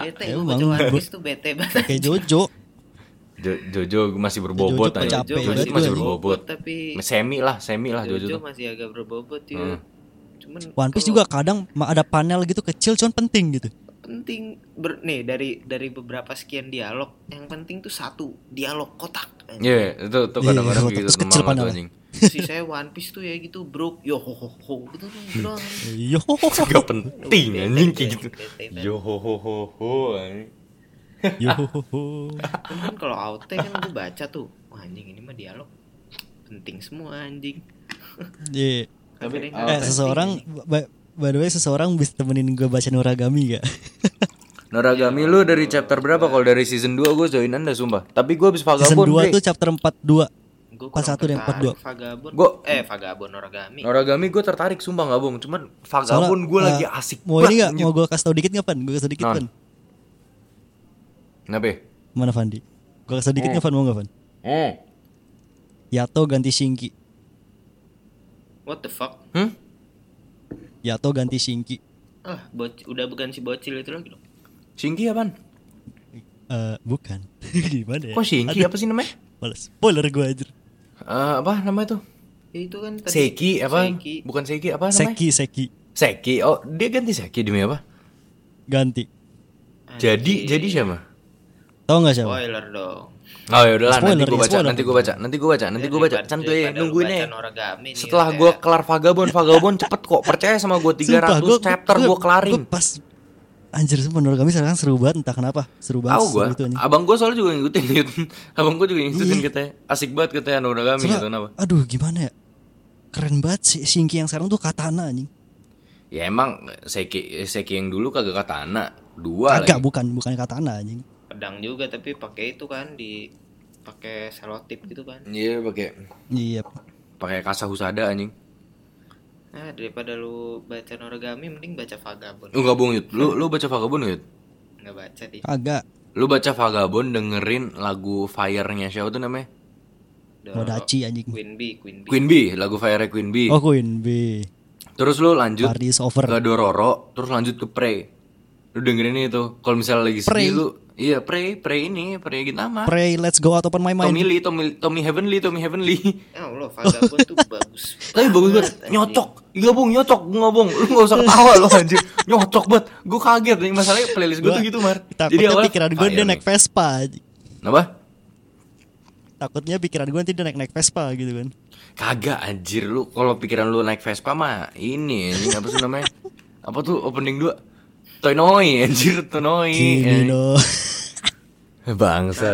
B: bete
C: Ya,
B: gue
C: emang
B: baca One
C: gua-
B: Piece tuh bete banget
C: kayak Jojo.
A: Jo- Jojo masih berbobot
C: Jojo
A: anjing.
C: capek
A: Jojo
C: banget
A: masih
C: gua. ya.
A: berbobot.
B: tapi
A: Semi lah, semi lah Jojo.
B: Jojo
A: tuh.
B: masih agak berbobot ya
A: Hmm.
B: cuman
C: One Piece
B: kalau
C: juga kadang ma- ada panel gitu kecil cuman penting gitu.
B: penting ber- nih dari dari beberapa sekian dialog yang penting tuh satu dialog kotak anjing.
A: Iya, itu tuh
C: Iya,
A: kadang-kadang
C: iya,
A: gitu
C: terus
A: tuh
C: kecil
A: manga tuh
C: padahal.
A: anjing.
B: si saya One Piece tuh ya gitu bro yo ho ho ho gitu doang
C: Yo.
A: Gak penting
B: Bete,
A: anjing kayak
B: bete,
A: gitu.
B: bete, bete.
A: Yo ho ho ho ho anjing.
C: Yo.
B: Cuman kalau AOT kan gue baca tuh Wah anjing ini mah dialog Penting semua anjing Kan
C: Iya.
B: Tapi
A: Oh,
C: Eh seseorang by, by the way seseorang bisa temenin gue baca Noragami gak?
A: Noragami lu dari chapter berapa? Kalau dari season 2 gue join anda sumpah. Tapi gue habis
C: Season
A: vagabond.
C: 2
A: Bre.
C: tuh chapter 42
B: Gue
C: Pas satu dan empat dua.
B: Vagabond
A: Gua-
B: Eh Vagabond Origami
A: Noragami gue tertarik sumpah nggak bohong. Cuman vagabond gue
C: eh,
A: lagi asik
C: Mau ini gak?
A: anjing.
C: Mau gue kasih tau dikit gak Pan? Gue kasih tau dikit
A: Nah.
C: Pan
A: Kenapa? ya?
C: Mana Fandi? Gue kasih tau
A: Eh.
C: dikit gak Pan? Mau gak Pan?
A: Hmm.
C: Yato ganti Shinki
B: What the fuck
A: Hmm?
C: Yato ganti Shinki
B: Ah boc- udah bukan si bocil itu lagi dong
A: Shinki apaan?
C: Eh bukan Gimana ya?
A: Kok Shinki apa sih namanya?
C: Malah spoiler gue aja
A: Eh, apa namanya tuh?
B: Ya itu kan tadi
A: Seki apa?
B: Seki
A: Bukan Seki apa namanya?
C: Seki Seki
A: Seki. Oh, dia ganti Seki demi apa?
C: Ganti
A: Jadi
B: Anjing.
A: jadi siapa?
C: Tau gak siapa?
A: iya.
B: Spoiler dong Ya,
A: Oh ya udahlah nanti
C: Spoiler,
A: gue baca,
C: spoiler.
A: nanti gue baca, nanti gue baca, nanti gue baca.
B: Daripada-
A: Santuy
B: daripada lu
A: nungguinnya.
B: baca Noragami nih,
A: Setelah
B: ya,
A: gue
B: kayak-
A: kelar vagabond, vagabond cepet kok. Percaya sama gue 300 chapter gue kelarin.
C: Gue pas Anjir sumpah Noragami sekarang seru banget entah kenapa Seru banget
A: Tahu
C: seru
A: gue.
C: gitu anjing.
A: Abang gue soalnya juga ngikutin. Yud. Abang gue juga ngikutin katanya. Asik banget katanya Noragami
C: Soalnya-
A: gitu kenapa?
C: Aduh gimana ya? Keren banget si Shinki yang sekarang tuh katana anjing
A: Ya emang Seki Seki yang dulu kagak katana dua
C: Agak
A: lagi.
C: bukan, bukan katana anjing
B: Pedang juga tapi pakai itu kan di pakai selotip gitu kan
A: Iya pakai
C: Iya
A: pakai kasahusada anjing.
B: Nah daripada lu baca Noragami Mending baca Vagabond
A: Lu gak bohong Yud. Lu lu baca vagabond Yud?
B: Nggak baca di
C: Agak
A: Lu baca Vagabond dengerin lagu Fire-nya siapa tuh namanya?
C: Modachi anjing
B: Queen Bee Queen Bee
A: Queen Bee, lagu Fire Queen Bee.
C: Oh Queen B
A: Terus lu lanjut
C: Party is over
A: ke Dororo, terus lanjut ke Prey. Lu dengerin itu. Kalau misalnya lagi sedih
C: Prey.
A: lu, iya Prey, Prey ini, Prey Gintama.
C: Pray let's go out open my mind
A: Tommy Lee, Tommy, Tommy Heavenly, Tommy Heavenly.
B: Ya Allah, Vagabond tuh bagus.
A: Tapi bagus banget,
B: anjing.
A: nyotok. Gak bung, nyotok, gue ngobong. Lu gak usah ketawa lu anjir. Nyotok banget. Gue kaget nih masalahnya playlist gue tuh gitu, Mar.
C: Takutnya
A: awalnya Ah, iya,
C: pikiran gue
A: Fire
C: dia
A: nih.
C: naik Vespa anjing.
A: Kenapa?
C: Takutnya pikiran gue nanti dia naik-naik Vespa gitu kan
A: Kagak anjir lu kalau pikiran lu naik Vespa mah ini, ini apa sih namanya? apa tuh opening 2? Tonoi anjir Tonoi.
C: Kimi no
A: Eh, Bangsa.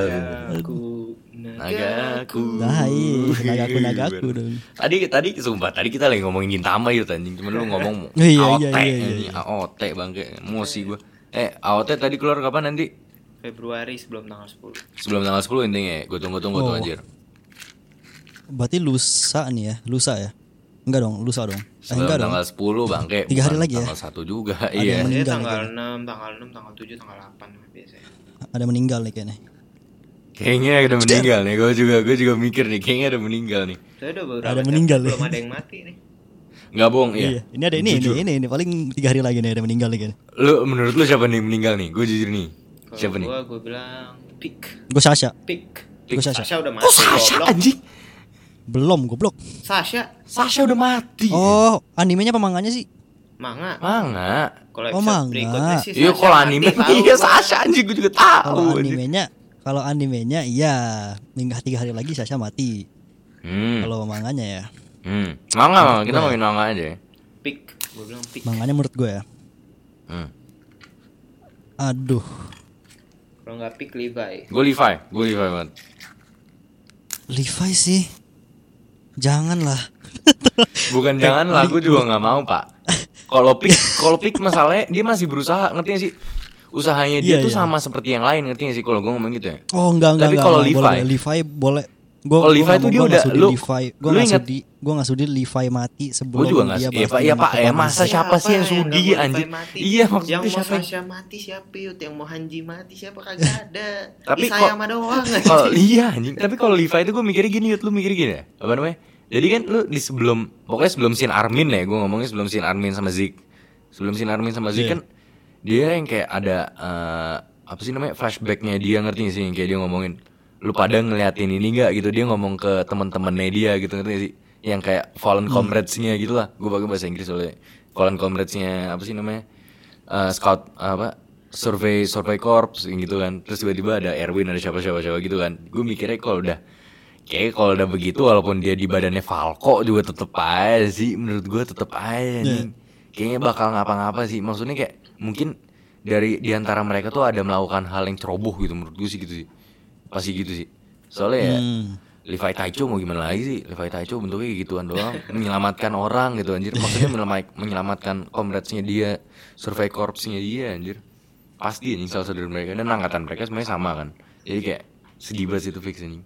B: Aku nah,
A: Nah.
B: naga.
A: Nagaku.
C: Dai,
A: Iya,
C: nagaku nagaku dong.
A: Tadi tadi sumpah tadi kita lagi ngomongin Gintama ya anjing, cuman lu ngomong
C: Iya,
A: AOT.
C: iya, iya,
A: anjing, AOT bangke, emosi gua. Eh, AOT tadi keluar kapan nanti?
B: Februari sebelum tanggal 10.
A: Sebelum tanggal 10 intinya ya. Gua tunggu-tunggu tuh
C: Oh.
A: anjir.
C: berarti lusa nih ya, lusa ya? Enggak dong, lusa dong. Eh,
A: Sebelum
C: enggak dong.
A: tanggal 10 bangke.
C: Tiga hari
A: bukan
C: lagi ya?
A: Tanggal 1 juga.
C: yang
A: iya.
C: meninggal
B: Biasanya
C: gitu.
B: tanggal 6, tanggal 6, tanggal 7, tanggal 8 lah biasanya.
C: Ada yang meninggal nih kayaknya.
A: Kayaknya udah meninggal nih. Gue juga gue juga mikir nih kayaknya udah meninggal nih.
B: Saya udah beberapa
C: Ada
B: chapter
C: meninggal ya?
B: belum ada yang mati nih.
A: Enggak bohong, iya.
C: Iya. Ini ada ini, ini,
A: Jujur.
C: ini, ini, paling tiga hari lagi nih ada yang meninggal nih kayaknya.
A: Lu menurut lu siapa nih yang meninggal nih? Gue jujur nih.
B: Kalau
A: siapa nih?
B: gua, gua bilang pick,
C: Gue Sasha,
B: pick.
C: gue Sasha.
B: Sasha udah mati.
A: Kok Sasha
B: goblok.
A: anjing?
C: Belum goblok.
B: Sasha
A: Sasha udah mati.
C: Oh, animenya apa manganya sih?
B: manga.
A: Manga.
C: Oh,
B: Kalau episode
C: manga.
B: berikutnya sih
A: Iya
B: Sasha
A: kalau
B: mati,
A: anime
B: tahu
A: iya
B: gua.
A: Sasha anjing gue juga
C: Kalau
A: tahu. anjing.
C: animenya, kalau animenya iya, minggu tiga hari lagi Sasha mati.
A: Hmm.
C: Kalau Iya. manganya ya,
A: Hmm. Manga, manga. kita main manga aja. ya.
B: Pick. Gua bilang pick.
C: manganya menurut gue ya.
A: Hmm.
C: Aduh,
B: Kalau nggak pick Levi.
A: Gue Levi, gue Levi banget.
C: Levi sih. Janganlah.
A: Bukan
C: Eh,
A: jangan lah, gue juga nggak mau pak. Kalau pick, kalau pick masalahnya dia masih berusaha, ngerti gak sih? Usahanya dia
C: Iya,
A: tuh
C: iya.
A: sama seperti yang lain, ngerti gak sih? Kalau gue ngomong gitu ya.
C: Oh, enggak enggak
A: Tapi
C: enggak.
A: kalau
C: enggak,
A: Levi-
C: boleh, boleh. Levi boleh. Gua,
A: Kalau Levi
C: nggak-
A: tuh dia
C: nggak
A: udah-
C: sudi
A: lu-
C: Levi, gua
A: lu
C: nggak
A: ingat-
C: sudi, gua nggak sudi Levi mati sebelum
A: Gue juga nggak.
C: dia
A: sih. Iya pak, iya pak, ya masa siapa sih yang
B: nggak
A: sudi
B: mau
A: anjir?
B: Levi mati?
A: Iya maksudnya
B: yang mau
A: siapa?
B: Sasha mati siapa yut yang mau Hanji mati siapa kagak ada
A: Tapi
B: Isayama saya
A: kok-
B: doang
A: Kalau iya anjing. Tapi kalau Levi itu gue mikirnya gini, Yud. lu mikir gini ya. Apa namanya? Jadi kan lu di sebelum pokoknya sebelum sin Armin ya, gue ngomongnya sebelum sin Armin sama Zeke. Sebelum sin Armin sama Zeke
C: Iya.
A: kan dia yang kayak ada eh, apa sih namanya flashbacknya dia ngerti gak sih yang kayak dia ngomongin lu pada ngeliatin ini nggak gitu dia ngomong ke teman-temannya dia gitu ngerti gak sih yang kayak fallen comrades-nya gitu lah gue pakai bahasa Inggris soalnya fallen comrades-nya apa sih namanya Eh, scout apa survei survei corps yang gitu kan terus tiba-tiba ada Erwin ada siapa siapa siapa gitu kan gue mikirnya kalau udah kayak kalau udah begitu walaupun dia di badannya Falco juga tetep aja sih menurut gue tetep aja nih kayaknya bakal ngapa-ngapa sih maksudnya kayak mungkin dari diantara mereka tuh ada melakukan hal yang ceroboh gitu menurut gue sih gitu sih pasti gitu sih soalnya ya
C: Hmm.
A: Levi Taicho mau gimana lagi sih Levi Taicho bentuknya kayak gituan doang Menyelamatkan orang gitu anjir Maksudnya menyelamat- menyelamatkan komradesnya dia Survei korpsnya dia anjir Pasti anjing salah saudara mereka Dan angkatan mereka semuanya sama kan Jadi kayak sedih banget sih itu fix anjing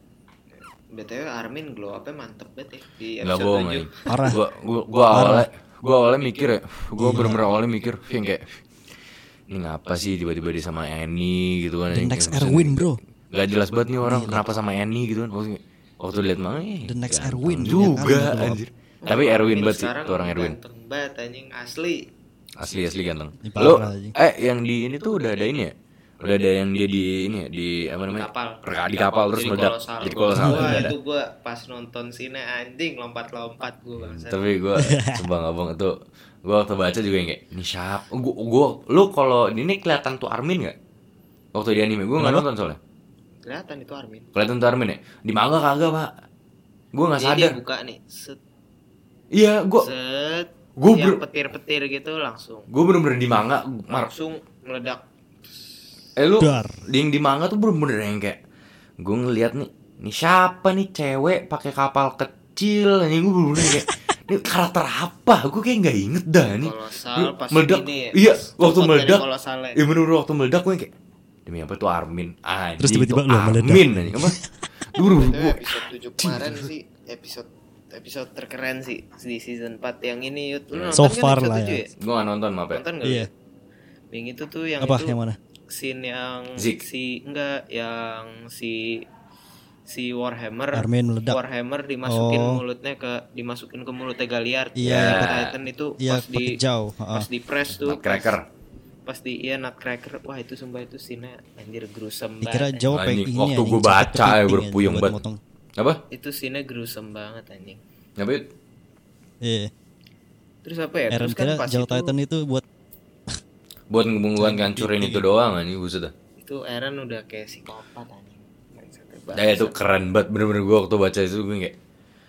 B: btw Armin glow upnya mantep banget ya di
A: Gak
B: episode
A: bohong
B: 7
A: anjing
C: Parah.
A: Gua, gua, gua awalnya Gua awalnya mikir ya Gua bener-bener awalnya mikir Yang kayak Ini ngapa sih tiba-tiba dia sama Annie gitu kan
C: The
A: anjing.
C: next
A: Maksudnya
C: Erwin, bro.
A: Gak jelas banget nih orang kenapa sama Annie gitu kan Maksudnya Waktu lihat mah eh,
C: The next
A: ganteng
C: Erwin,
A: Juga
C: lihat Armin.
A: anjir Tapi Erwin banget sih
B: sekarang
A: tuh orang Erwin
B: ganteng banget anjing asli
A: Asli asli ganteng
C: Ini parah
A: Lo
C: anjing.
A: Eh yang di ini tuh udah ada ini ya Udah ada yang dia di ini ya Di apa namanya
B: kapal.
A: Perka- Di kapal terus
B: Jadi
A: meledak
B: kolosal.
A: Jadi kolosal
B: Wah,
A: udah ada
B: itu gua pas nonton sini anjing lompat-lompat gua bangsa
A: Hmm, tapi gue sumpah ngabong itu gue waktu baca juga yang kayak ini siapa gue gue lu kalau ini kelihatan tuh Armin nggak waktu di anime gue nggak nonton soalnya
B: kelihatan itu Armin
A: kelihatan tuh Armin ya di manga kagak pak gue nggak
B: Jadi Iya, dia
A: sadar
B: buka nih set
A: iya gue
B: set
A: Gua
B: yang
A: ber-
B: petir-petir gitu langsung
A: gue bener-bener di manga Mar
B: langsung meledak
A: eh lu
C: Dar.
A: di yang di manga tuh bener-bener yang kayak gue ngeliat nih ini siapa nih cewek pakai kapal kecil ini gue bener-bener kayak ini karakter apa gue kayak nggak inget dah nih
B: kolosal pas
A: meledak
B: ini ya,
A: iya
B: pas
A: waktu
B: copot dari
A: meledak
B: kolosalnya.
A: iya bener bener waktu meledak gue kayak demi apa tuh Armin anjing
C: Terus tiba-tiba
A: tuh
C: lu meledak.
A: Armin anjing apa dulu
B: Btw,
A: gue
B: episode 7 kemarin sih episode episode terkeren sih di season 4 yang ini Yud. Lu nonton
C: So
B: kan
C: far
B: episode
C: lah ya.
B: 7
A: gue gak nonton maaf ya
B: Nonton enggak?
C: Iya.
B: Yang itu tuh yang
C: Apa
B: itu
C: yang mana?
B: scene yang
A: Zeke.
B: si enggak yang si si Warhammer
C: Armin meledak.
B: Warhammer dimasukin
C: Oh.
B: mulutnya ke dimasukin ke mulutnya Galiard.
C: Iya,
B: Ya,
C: yang
A: pakai-
B: Titan itu
C: Iya,
B: pas di
C: pakai jauh, Ah, ha-ha.
B: pas di press tuh. pas-
A: Nutcracker.
B: Pas di iya nutcracker. Wah, itu sumpah itu scene anjir gruesome
C: Dikira
B: banget.
C: jauh
A: Anjing,
C: peng ini
A: waktu
C: anjing,
A: gue
C: capek
A: baca ya gue
C: kepiting anjing,
A: puyeng
C: buat
A: banget
C: motong.
A: apa
B: Itu scene gruesome banget anjing.
A: apa Yud?
C: Iya.
B: Eh, Terus apa ya?
C: Eren
B: Terus kan
C: kira
B: pas
C: Jawa
B: itu,
C: Titan itu buat
A: buat ngebungkuan kancurin itu doang anjing buset dah
B: itu Eren udah kayak psikopat anjing. Mindsetnya banget.
A: Eh, itu keren banget bener-bener gue waktu baca itu gue kayak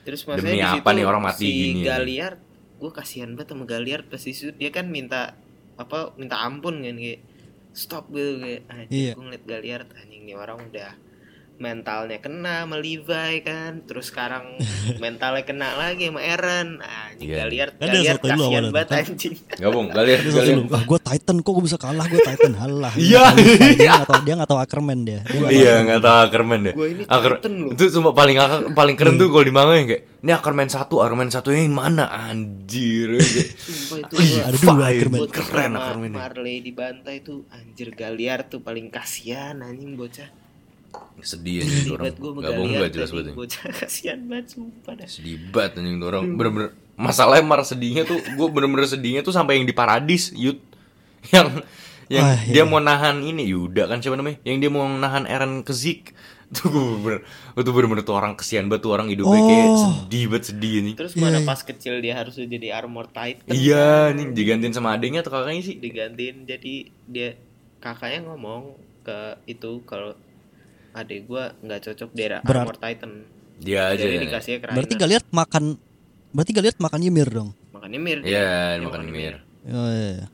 B: Terus maksudnya
A: Demi
B: di
A: apa
B: situ
A: nih orang mati
B: si
A: gini ya?
B: Galiard, gue kasihan banget sama Galiard pas di situ dia kan minta apa minta ampun kan kayak stop gitu kayak anjing
C: Iya.
B: gue ngeliat Galiard anjing nih orang udah mentalnya kena sama Levi kan terus sekarang mentalnya kena lagi sama Aaron anjing
A: Iya.
B: Galiard
C: Ada Kan
B: Galiard
C: satu lu
B: kasihan
C: awalnya.
B: banget anjing
A: Gabung, Galir,
C: Terus aku
A: Galir.
C: belum, ah gue Titan kok gue bisa kalah gue Titan halah.
A: Iya.
C: Dia nggak tahu dia nggak tahu Ackerman dia. Dia nggak
A: Iya, nggak tahu Ackerman deh.
B: Gua ini Titan loh.
A: Itu sumpah paling ak- paling keren tuh kalau di manga yang kayak, ini Ackerman satu, Ackerman satunya yang mana? Anjir.
B: Sumpah itu
A: Ih,
B: gua-
C: ada dua
A: fine.
C: Ackerman.
B: Buat
A: Keren
B: pertama
A: Ackerman. ini.
B: Marley dibantai tuh anjir Galiar tuh paling kasihan anjing bocah.
A: Sedih anjing tuh orang.
B: Ribet gue sama
A: Gabung
B: Galiar.
A: gak jelas
B: tadi,
A: banget. anjing.
B: Bocah kasihan banget sumpah dah.
A: Sedih banget anjing tuh orang. Bener-bener masalahnya mar sedihnya tuh gue bener-bener sedihnya tuh sampai yang di paradis yud yang yang
C: Wah,
A: dia
C: iya.
A: mau nahan ini Yuda kan siapa namanya yang dia mau nahan Eren ke Zeke tuh gue bener itu bener-bener tuh orang kesian banget tuh orang hidupnya kayak
C: Oh.
A: sedih banget sedih anjing
B: Terus
C: Iya,
B: mana
C: iya.
B: pas kecil dia harus jadi armor titan. kan?
A: Iya, nih digantiin sama adiknya atau kakaknya sih?
B: Digantiin jadi dia kakaknya ngomong ke itu kalau adek gua nggak cocok dia ada
C: Berat.
B: armor titan.
A: Dia aja.
B: Jadi
A: ya.
B: dikasnya ke Raina.
C: Berarti Galiard makan berarti Galiard makan Ymir dong.
B: Makanya Mir.
A: Iya,
B: Dia
A: dimakan
B: makan
A: Mir.
C: Oh, iya.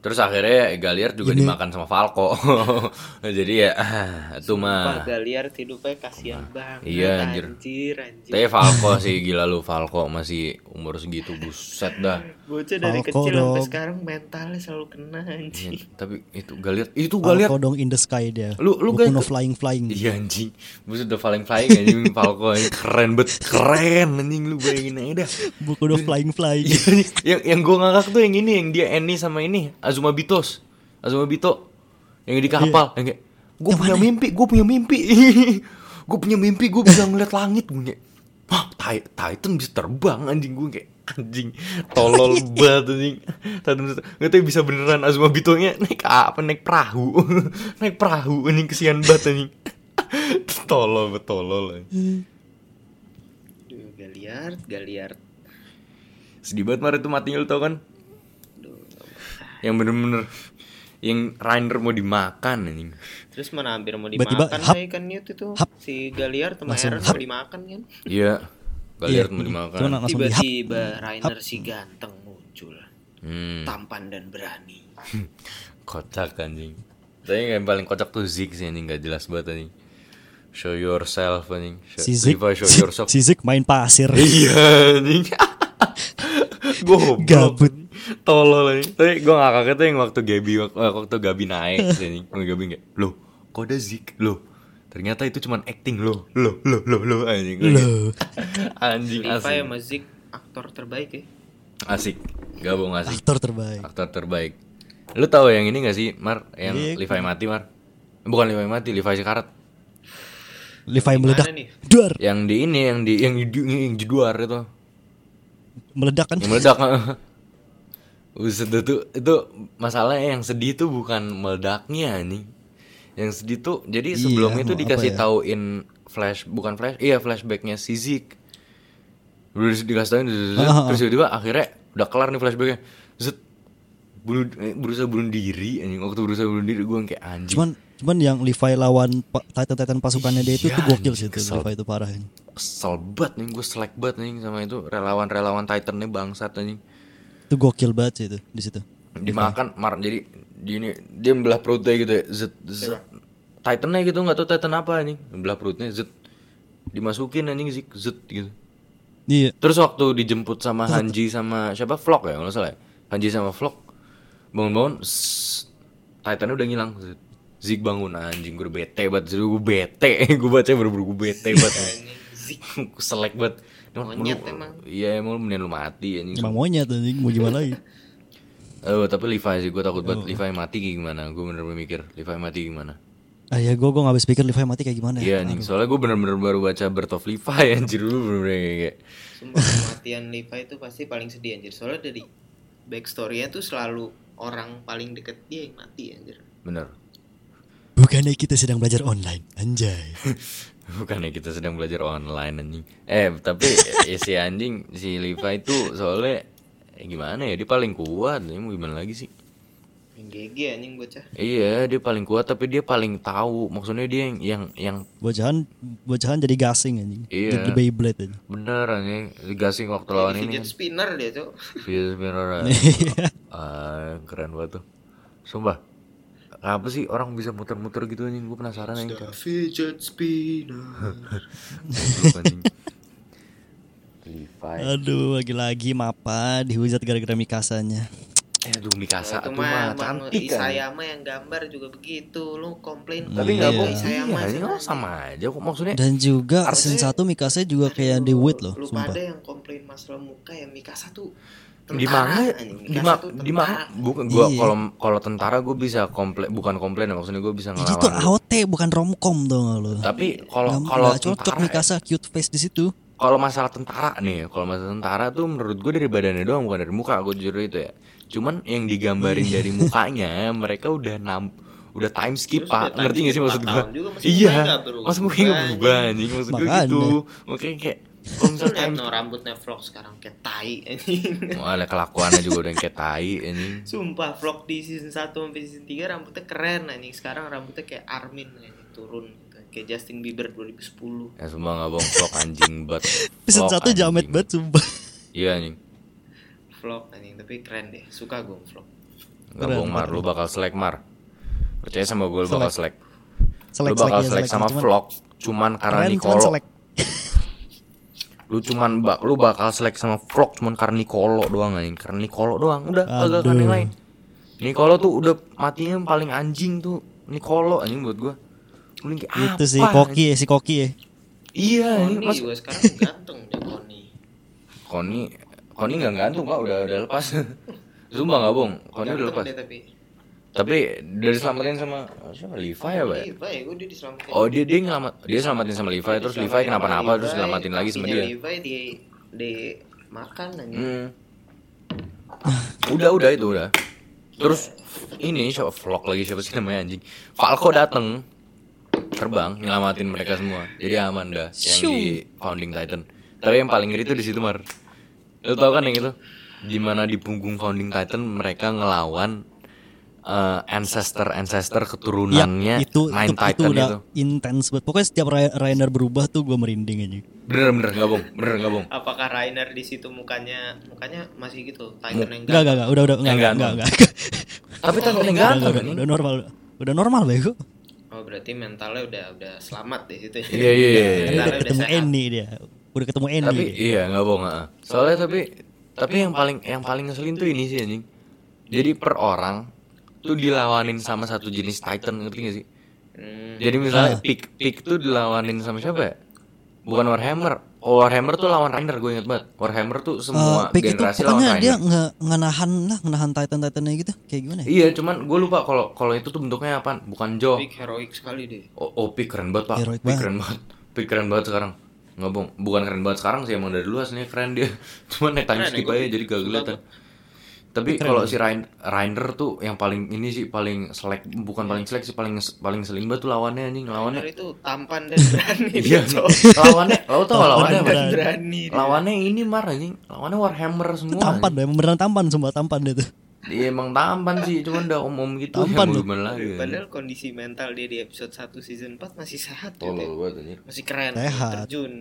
A: Terus akhirnya Galiar juga dimakan sama Falco. Jadi ya, ah, itu mah.
B: Sumpah, Galiar hidupnya kasihan banget.
A: Iya, anjir.
B: anjir. anjir.
A: Tapi Falco sih gila lu Falco masih umur segitu buset dah.
B: Bocah dari
C: Falco
B: kecil sampai
C: dong.
B: sekarang mentalnya selalu kena anjing.
A: Iya, tapi itu Galiar, itu Galiar.
C: Falco dong in the sky dia.
A: Lu- lu
C: Boku no
A: kan-
C: flying flying.
A: Iya anjing, buset udah paling flying anjing Falco anjing. keren banget, keren anjing lu bayangin aja dah.
C: Boku no flying flying.
A: Iya, nih. yang yang gue ngakak tuh yang ini yang dia Eni sama ini Azuma Bitos Azuma Bito yang di kapal yang kayak gue punya mimpi gue punya mimpi gue punya mimpi gue bisa ngeliat langit gue kayak Hah, Ti- Titan bisa terbang anjing gue kayak anjing tolol banget anjing Titan bisa nggak tahu ya bisa beneran Azuma Bitonya naik apa naik perahu naik perahu anjing kesian banget anjing tolol betolol
B: Duh, Galiar, Galiar.
A: sedih banget mar itu matinya lu tau kan
B: Duh.
A: yang bener-bener yang Rainer mau dimakan anjing
B: Terus mana hampir mau
C: Tiba-tiba,
B: dimakan
C: hap,
B: lah ikannya itu tuh.
C: hap.
B: Si Galiar sama
C: Langsung,
B: Eren
C: hap.
B: mau dimakan kan.
A: iya Galiar
C: Iya,
A: mau
C: mm,
A: dimakan
C: cuman langsung di hap.
B: Tiba-tiba Rainer si ganteng muncul.
A: hmm,
B: Tampan dan berani.
A: kocak anjing tapi yang paling kocak tuh Zig sih anjing gak jelas banget anjing show yourself anjing show,
C: Si Zeke-
A: Levi, show
C: Si-
A: yourself
C: si Zeke main pasir.
A: iya anjing Goblok
C: Gabut.
A: Tolol anjing Tapi gue gak kaget tuh yang waktu Gabi wak- eh, Waktu Gabi naik sih, anjing Waktu Gabi kayak Loh kok ada Zik Loh ternyata itu cuman acting loh Loh loh loh loh anjing
C: Loh.
A: Anjing
B: Levi
A: asik
B: sama Zeke aktor terbaik ya.
A: Asik Gabung asik
C: Aktor terbaik.
A: Aktor terbaik Lu tahu yang ini gak sih Mar
C: Iya.
A: Yang Levi mati Mar Bukan Levi mati Levi sekarat
C: Levi meledak.
B: nih?
C: Duar.
A: Yang di ini Yang di yang, di- yang jeduar itu
C: Meledak kan.
A: yang meledak Buset dah tuh itu masalahnya yang sedih tuh bukan meledaknya nih yang sedih tuh jadi
C: Iya,
A: sebelumnya tuh
C: mau apa
A: dikasih
C: ya?
A: tauin flash bukan flash iya flashbacknya si Zik Udah dis- dikasih tauin zut, zut,
C: Ah,
A: zut.
C: ah, ah.
A: terus tiba-tiba akhirnya udah kelar nih flashbacknya zut bunuh eh, berusaha bunuh diri anjing waktu berusaha bunuh diri gue kayak anjing
C: Cuman cuman yang Levi lawan pa- Titan-Titan pasukannya dia itu
A: Iya,
C: tuh gokil sih itu
A: kesel.
C: Levi itu parah ini.
A: kesel banget nih gue selek banget nih sama itu relawan-relawan Titan nih bangsat anjing
C: Itu gokil banget sih itu di situ.
A: dimakan mar jadi di ini dia belah perutnya gitu ya zet
B: Iya.
A: zet titannya gitu nggak tahu titan apa anjing belah perutnya zet dimasukin anjing zik zet gitu
C: Iya.
A: terus waktu dijemput sama Hanji sama siapa vlog ya kalau nggak salah ya? Hanji sama vlog bangun-bangun sss, titannya udah ngilang zet. Zik bangun anjing gue bete banget Zek, gue bete gue baca bener-bener gue bete banget Gue selek banget Emang lu-
B: Monyet emang.
A: Iya emang lu mendingan lu mati anjing
C: Emang monyet anjing mau gimana lagi?
A: Eh tapi Levi sih gue takut banget Levi mati kayak gimana Gue bener-bener mikir Levi mati gimana
C: Ah ya gue gue nggak habis pikir Levi mati kayak gimana. ya.
A: Iya anjing Soalnya gue bener-bener baru baca Birth of Levi Anjir gue bener-bener kayak- kayak
B: Sumpah kematian Levi itu pasti paling sedih anjir. Soalnya dari backstory-nya tuh selalu orang paling deket dia yang mati anjir.
A: Bener
C: Bukannya kita sedang belajar online, anjay.
A: Bukannya ya, kita sedang belajar online anjing Eh tapi ya, si anjing Si Levi itu soalnya eh, Gimana ya dia paling kuat ya, Mau gimana lagi sih
B: Yang GG anjing bocah.
A: Iya dia paling kuat tapi dia paling tahu Maksudnya dia yang yang, yang
C: Bocahan bocahan jadi gasing anjing.
A: Iya.
C: Jadi Beyblade anjing.
A: bener anjing Gasing ya, waktu lawan ini
B: Fidget
A: kan.
B: spinner dia tuh.
A: Eh, Fierce Mirror keren banget tuh Sumpah Kenapa sih orang bisa muter-muter gitu anjing? Gue penasaran anjing.
D: The fidget spinner.
A: Goblok, anjing. Levi.
C: Aduh, lagi-lagi Mapa dihujat gara-gara Mikasanya.
A: Eh, aduh Mikasa tuh
B: Itu
A: mah
B: mah,
A: cantik kan.
B: Isayama yang gambar juga begitu. Lu komplain
A: Tapi nggak
C: Iya.
A: bohong
B: Isayama
A: Iya, anjing
B: senang.
A: oh, sama aja kok maksudnya.
C: Dan juga
A: Harusnya-
C: season 1 Mikasa juga kayak di wait loh,
B: Lu
C: sumpah.
B: pada yang komplain masalah muka ya Mikasa tuh
A: di manga
B: tentara, anjing.
A: di
B: Mikasa
A: ma
B: tuh
A: di manga
B: tentara.
A: bukan gua
C: Iya.
A: kalau kalau tentara gue bisa komplain bukan komplain ya, maksudnya gue bisa
C: Jadi itu
A: ngelawan
C: AOT bukan romcom dong lo.
A: tapi kalau
C: Nggak-
A: kalau
C: nggak cocok
A: tentara ya,
C: Mikasa cute face di situ.
A: kalau masalah tentara nih kalau masalah tentara tuh menurut gue dari badannya doang bukan dari muka gue jujur itu ya cuman yang digambarin
C: Iya.
A: dari mukanya mereka udah nam udah time
D: Terus
A: skip pak
D: udah
A: ngerti gak sih
D: time
A: maksud
D: skip
A: gue
D: empat tahun juga masih mukanya
A: iya
D: nggak berubah,
A: maksud mukanya nggak berubah anjing maksud gue
C: Makanya.
A: gitu makanya kayak kalau
B: Lu
A: misalnya
B: liat
A: time
B: no rambutnya vlog sekarang kayak tai anjing.
A: Wah, kelakuannya juga udah yang kayak tai anjing
B: Sumpah vlog di season 1 sampai season 3 rambutnya keren anjing. Sekarang rambutnya kayak Armin anjing, turun gitu. Kayak Justin Bieber 2010.
A: ya semua nggak bohong vlog anjing banget
C: Season
A: Vlog
C: 1 jamet
A: anjing.
C: banget sumpah.
A: iya anjing
B: Vlog anjing tapi keren deh. Suka gue vlog.
A: Gak
C: Keren,
A: bohong Mar, lu bakal selek Mar Percaya sama gue lu bakal selek Lu
C: Selek,
A: bakal
C: selek, ya,
A: selek
C: selek,
A: sama
C: cuman-
A: vlog Cuman karena
C: Keren cuman
A: Nicolo
C: selek.
A: Lu cuman bak, lu bakal selek sama vlog Cuman karena Nicolo doang anjing Karena Nicolo doang, udah kagak karena yang
C: Aduh.
A: lain Nicolo tuh udah matinya yang paling anjing tuh Nicolo anjing buat gue Lu ini kayak
C: Itu
A: apa,
C: si Koki ya, si Koki ya.
A: anjing? Iya anjing
B: Koni
A: mas
B: juga sekarang ganteng deh Koni.
A: Koni Koni gak gantung pak, udah, udah lepas Sumpah gak bohong, Koni udah
B: Ganteng
A: lepas
B: deh tapi.
A: Tapi udah diselamatin sama siapa Levi ya pak ya?
B: Iya, Pak, ya gue dia diselamatin.
A: Oh dia dia ngelamat dia selamatin sama Levi terus Levi kenapa-napa terus selamatin lagi sama dia.
B: Iya, Levi di di makan anjing.
A: Hmm. Udah udah itu udah. Terus ini siapa vlog lagi siapa sih namanya anjing? Falco dateng terbang nyelamatin mereka semua. Jadi aman dah yang di Founding Titan. Tapi yang paling ngeri itu di situ Mar. Lo tau kan yang itu? Dimana di punggung Founding Titan mereka ngelawan ancestor ancestor
C: Iya,
A: keturunannya
C: itu itu,
A: Nine Titan
C: itu udah
A: itu.
C: intens banget. Pokoknya setiap Ra- Rainer berubah tuh gue merinding aja.
A: Bener bener nggak bohong, bener nggak bohong.
B: Apakah Rainer di situ mukanya mukanya masih gitu Titan yang
C: Enggak, enggak, enggak, udah, udah, enggak, enggak,
A: Yang
C: enggak,
A: ganteng.
C: enggak,
A: Tapi Titan yang
C: Udah, udah,
A: ganteng
C: udah,
A: anjing.
C: udah normal, udah normal bego.
B: Oh berarti mentalnya udah udah selamat di situ. ya?
A: Iya, iya, iya, iya.
C: Kan
B: Mentalnya
C: udah
B: udah
C: ketemu
B: sehat.
C: Eni dia, udah ketemu Eni.
A: tapi
C: dia.
A: iya nggak bohong ah. soalnya tapi tapi yang paling yang paling ngeselin tuh ini sih anjing jadi per orang tuh dilawanin sama satu jenis titan ngerti gak sih
B: Hmm.
A: jadi misalnya pick pick tuh dilawanin sama siapa ya bukan warhammer oh, warhammer tuh lawan rainer gue inget banget warhammer tuh
C: Eh,
A: semua
C: Pick itu
A: generasi lawan
C: pokoknya
A: rainer
C: dia nggak nggak nahan lah, nahan Titan Titannya gitu, kayak gimana? ya?
A: iya cuman gue lupa kalau kalau itu tuh bentuknya apa bukan jaw
B: Big heroik sekali deh.
A: oh, oh pick keren banget pak
C: Heroic
A: pick
C: banget.
A: keren banget pick keren banget sekarang nggak bohong bukan keren banget sekarang sih emang dari dulu aslinya keren dia cuman naik time
B: Keren ya,
A: skip
B: gua
A: aja jadi gak kelihatan tapi
C: ya.
A: kalau si Rain- Rainer tuh yang paling ini sih paling selek bukan paling
B: Iya.
A: selek sih paling paling selin banget tuh lawannya anjing lawannya
B: Rainer itu tampan dan berani.
A: iya
B: gitu.
A: lawannya lo tau gak lawannya apa?
C: Tampan dan
B: berani dia.
A: lawannya ini mar anjing lawannya Warhammer
C: Itu
A: semua
C: tampan, emang beneran tampan, sumpah tampan dia tuh.
A: anjing. iya emang tampan sih cuman udah om om gitu
C: Tampan
A: ya, mau
C: loh.
A: gimana lagi anjing.
B: Padahal kondisi mental dia di episode 1 season 4 masih sehat gitu ya.
A: tolol banget anjing
B: Masih keren.
C: Sehat.
B: Terjun,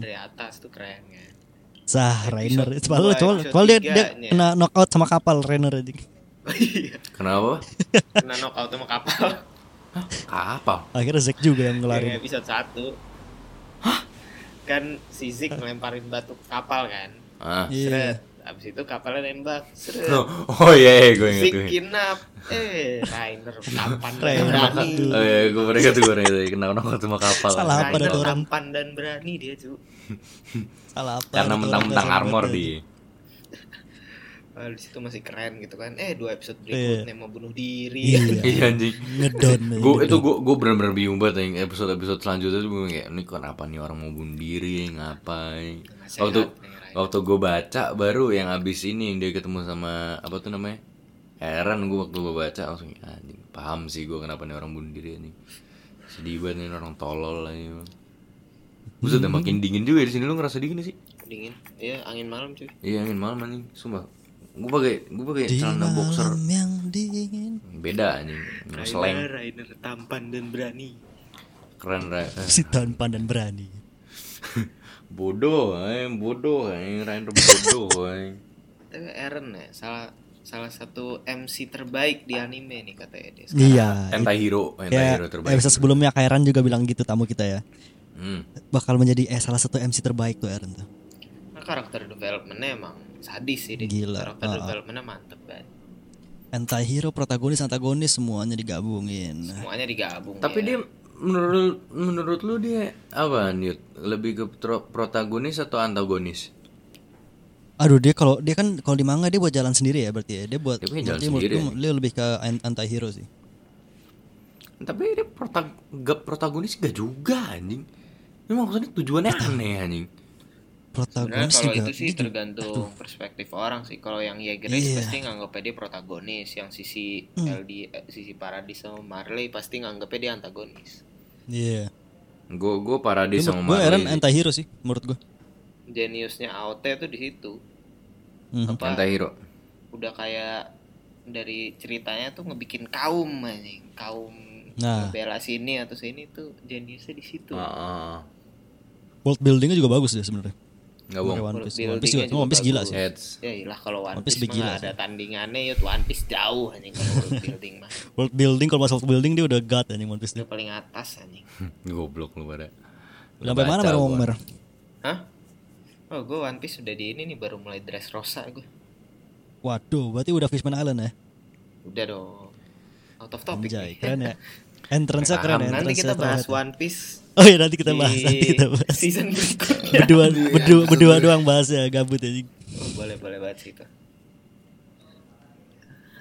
C: Mm-mm.
B: dari atas tuh keren ya.
C: Sah, Rainer,
B: dua,
C: coba lu, coba lu-
B: episode
C: coba dia, dia
A: ya.
B: tiganya.
C: kena knockout sama kapal Rainer aja.
B: Iya.
A: kenapa
B: Kena knockout sama kapal.
A: kapal
C: Akhirnya Zack juga yang
B: Yang
A: Iya,
C: ngelarin.
B: episode 1. Kan si Zeke ngelemparin batu ke kapal kan.
A: ah
C: Iya.
B: Seret. Abis itu kapalnya nembak. Seret.
A: Oh, oh iya, iya gue ingat
B: Zik
A: gue.
B: kinap. Eh, Rainer tampan dan
C: Rainer,
B: berani.
C: aduh.
A: Oh iya, gue pernah ingat gue pernah ingat kena nongol sama kapal.
C: Salah apa
B: Rainer
C: dah tuh orang?
B: tampan dan berani dia, Ju.
C: Salah apa? gitu.
A: Karena
C: itu
A: mentang-mentang
C: orang
A: armor
C: Titan.
A: di.
B: Ah, di situ masih keren gitu kan. Eh, dua episode
C: Iya.
B: berikutnya mau bunuh diri.
C: Iya,
A: Iya anjing.
C: ngedon. aja,
A: Gue itu
C: ngedon.
A: gue gue benar-benar bingung banget yang episode-episode selanjutnya tuh gue kayak ini kenapa nih orang mau bunuh diri ngapain? Waktu
B: Nggak Nah, sehat nih, Rainer.
A: waktu gue baca baru yang abis ini yang dia ketemu sama apa tuh namanya? Heran gue waktu gue baca langsung anjing paham sih gue kenapa nih orang bunuh diri anjing. Sedih banget nih orang tolol anjing. Buset udah makin dingin juga di sini lu ngerasa dingin nggak sih?
B: Dingin. Iya, angin malam, cuy.
A: Iya angin malam anjing, sumpah. Gue pakai gue pakai
C: Di
A: celana
C: malam
A: boxer
C: yang dingin.
A: beda anjing,
B: Rainer,
A: slang
B: Rainer tampan dan berani.
A: keren Ra. Eh,
C: Si tampan dan berani.
A: bodoh, eh, bodoh, eh, Rainer bodoh, eh.
B: Tapi Eren ya, salah salah satu MC terbaik di anime nih katanya dia. sekarang.
C: Iya.
A: Anti hero, anti
C: Ya,
A: hero terbaik.
C: episode sebelumnya Kairan juga bilang gitu tamu kita ya.
A: Hmm.
C: Bakal menjadi eh salah satu MC terbaik tuh Aaron tuh.
B: Nah, karakter developmentnya emang sadis sih dia.
C: Gila,
B: Karakter
C: ah.
B: developmentnya mantep banget.
C: Anti hero, protagonis, antagonis semuanya digabungin.
B: Semuanya digabung.
A: Tapi
B: ya.
A: dia menurut menurut lu dia apa Newt? Lebih ke pro- protagonis atau antagonis?
C: Aduh dia kalau dia kan kalau di manga dia buat jalan sendiri ya berarti ya. Dia buat
A: Dia punya jalan
C: berarti menurut
A: sendiri ya?
C: gua dia lebih ke anti hero sih.
A: Tapi dia prota- gak protagonis gak juga anjing. Ini maksudnya tujuannya
C: Nah.
A: aneh anjing.
B: Sebenarnya
C: Protagonis
B: kalau
C: juga. gitu.
B: itu sih
C: dia Iya. juga-
B: tergantung perspektif orang sih. Kalau yang Yegeris pasti nganggapnya dia protagonis, yang sisi
C: Hmm.
B: LD, eh, sisi Paradis sama Marley pasti nganggapnya dia antagonis.
C: Iya.
A: Gue gue paradis sama
C: Gue Aaron
A: Marley.
C: anti hero sih menurut gue.
B: Jeniusnya AOT tuh di situ.
C: Mhm. Hmm.
B: Apa
A: Anti hero.
B: udah kayak dari ceritanya tuh ngebikin kaum anjing, kaum
C: Nah.
B: ngebela sini atau sini tuh jeniusnya
A: Ah,
B: di situ.
C: World buildingnya juga bagus dia sebenarnya.
A: Gak bohong.
C: Kayak One Piece.
B: World
C: One Piece
B: buildingnya
C: juga. One Piece
B: juga
C: gila
B: bagus.
C: sih.
A: Heads.
B: Ya ilah kalau One
C: One Piece
B: Piece, mah
C: begila
B: nggak ada tandingannya ya One Piece jauh anjing kalau world building mah.
C: World building kalau masalah world building dia udah god anjing One Piece.
B: Udah paling atas anjing.
A: Goblok lu pada. Lu
C: Sampai mana
A: baca
C: baru
A: gua.
C: ngomong Mer?
B: Hah? Oh, gue One Piece udah di ini nih baru mulai dress rosa gue.
C: Waduh, berarti udah Fishman Island ya.
B: Udah dong. Out of topic.
C: Anjay,
B: nih.
C: keren ya. Entrance-nya keren ya.
B: Nanti kita
C: entrance-nya
B: bahas
C: terlihat.
B: One Piece
C: Oh iya nanti kita
B: di
C: bahas, nanti kita bahas.
B: season berikutnya.
C: Berdua berdua berdua doang bahas ya, gabut anjing.
B: Oh, boleh boleh banget sih itu.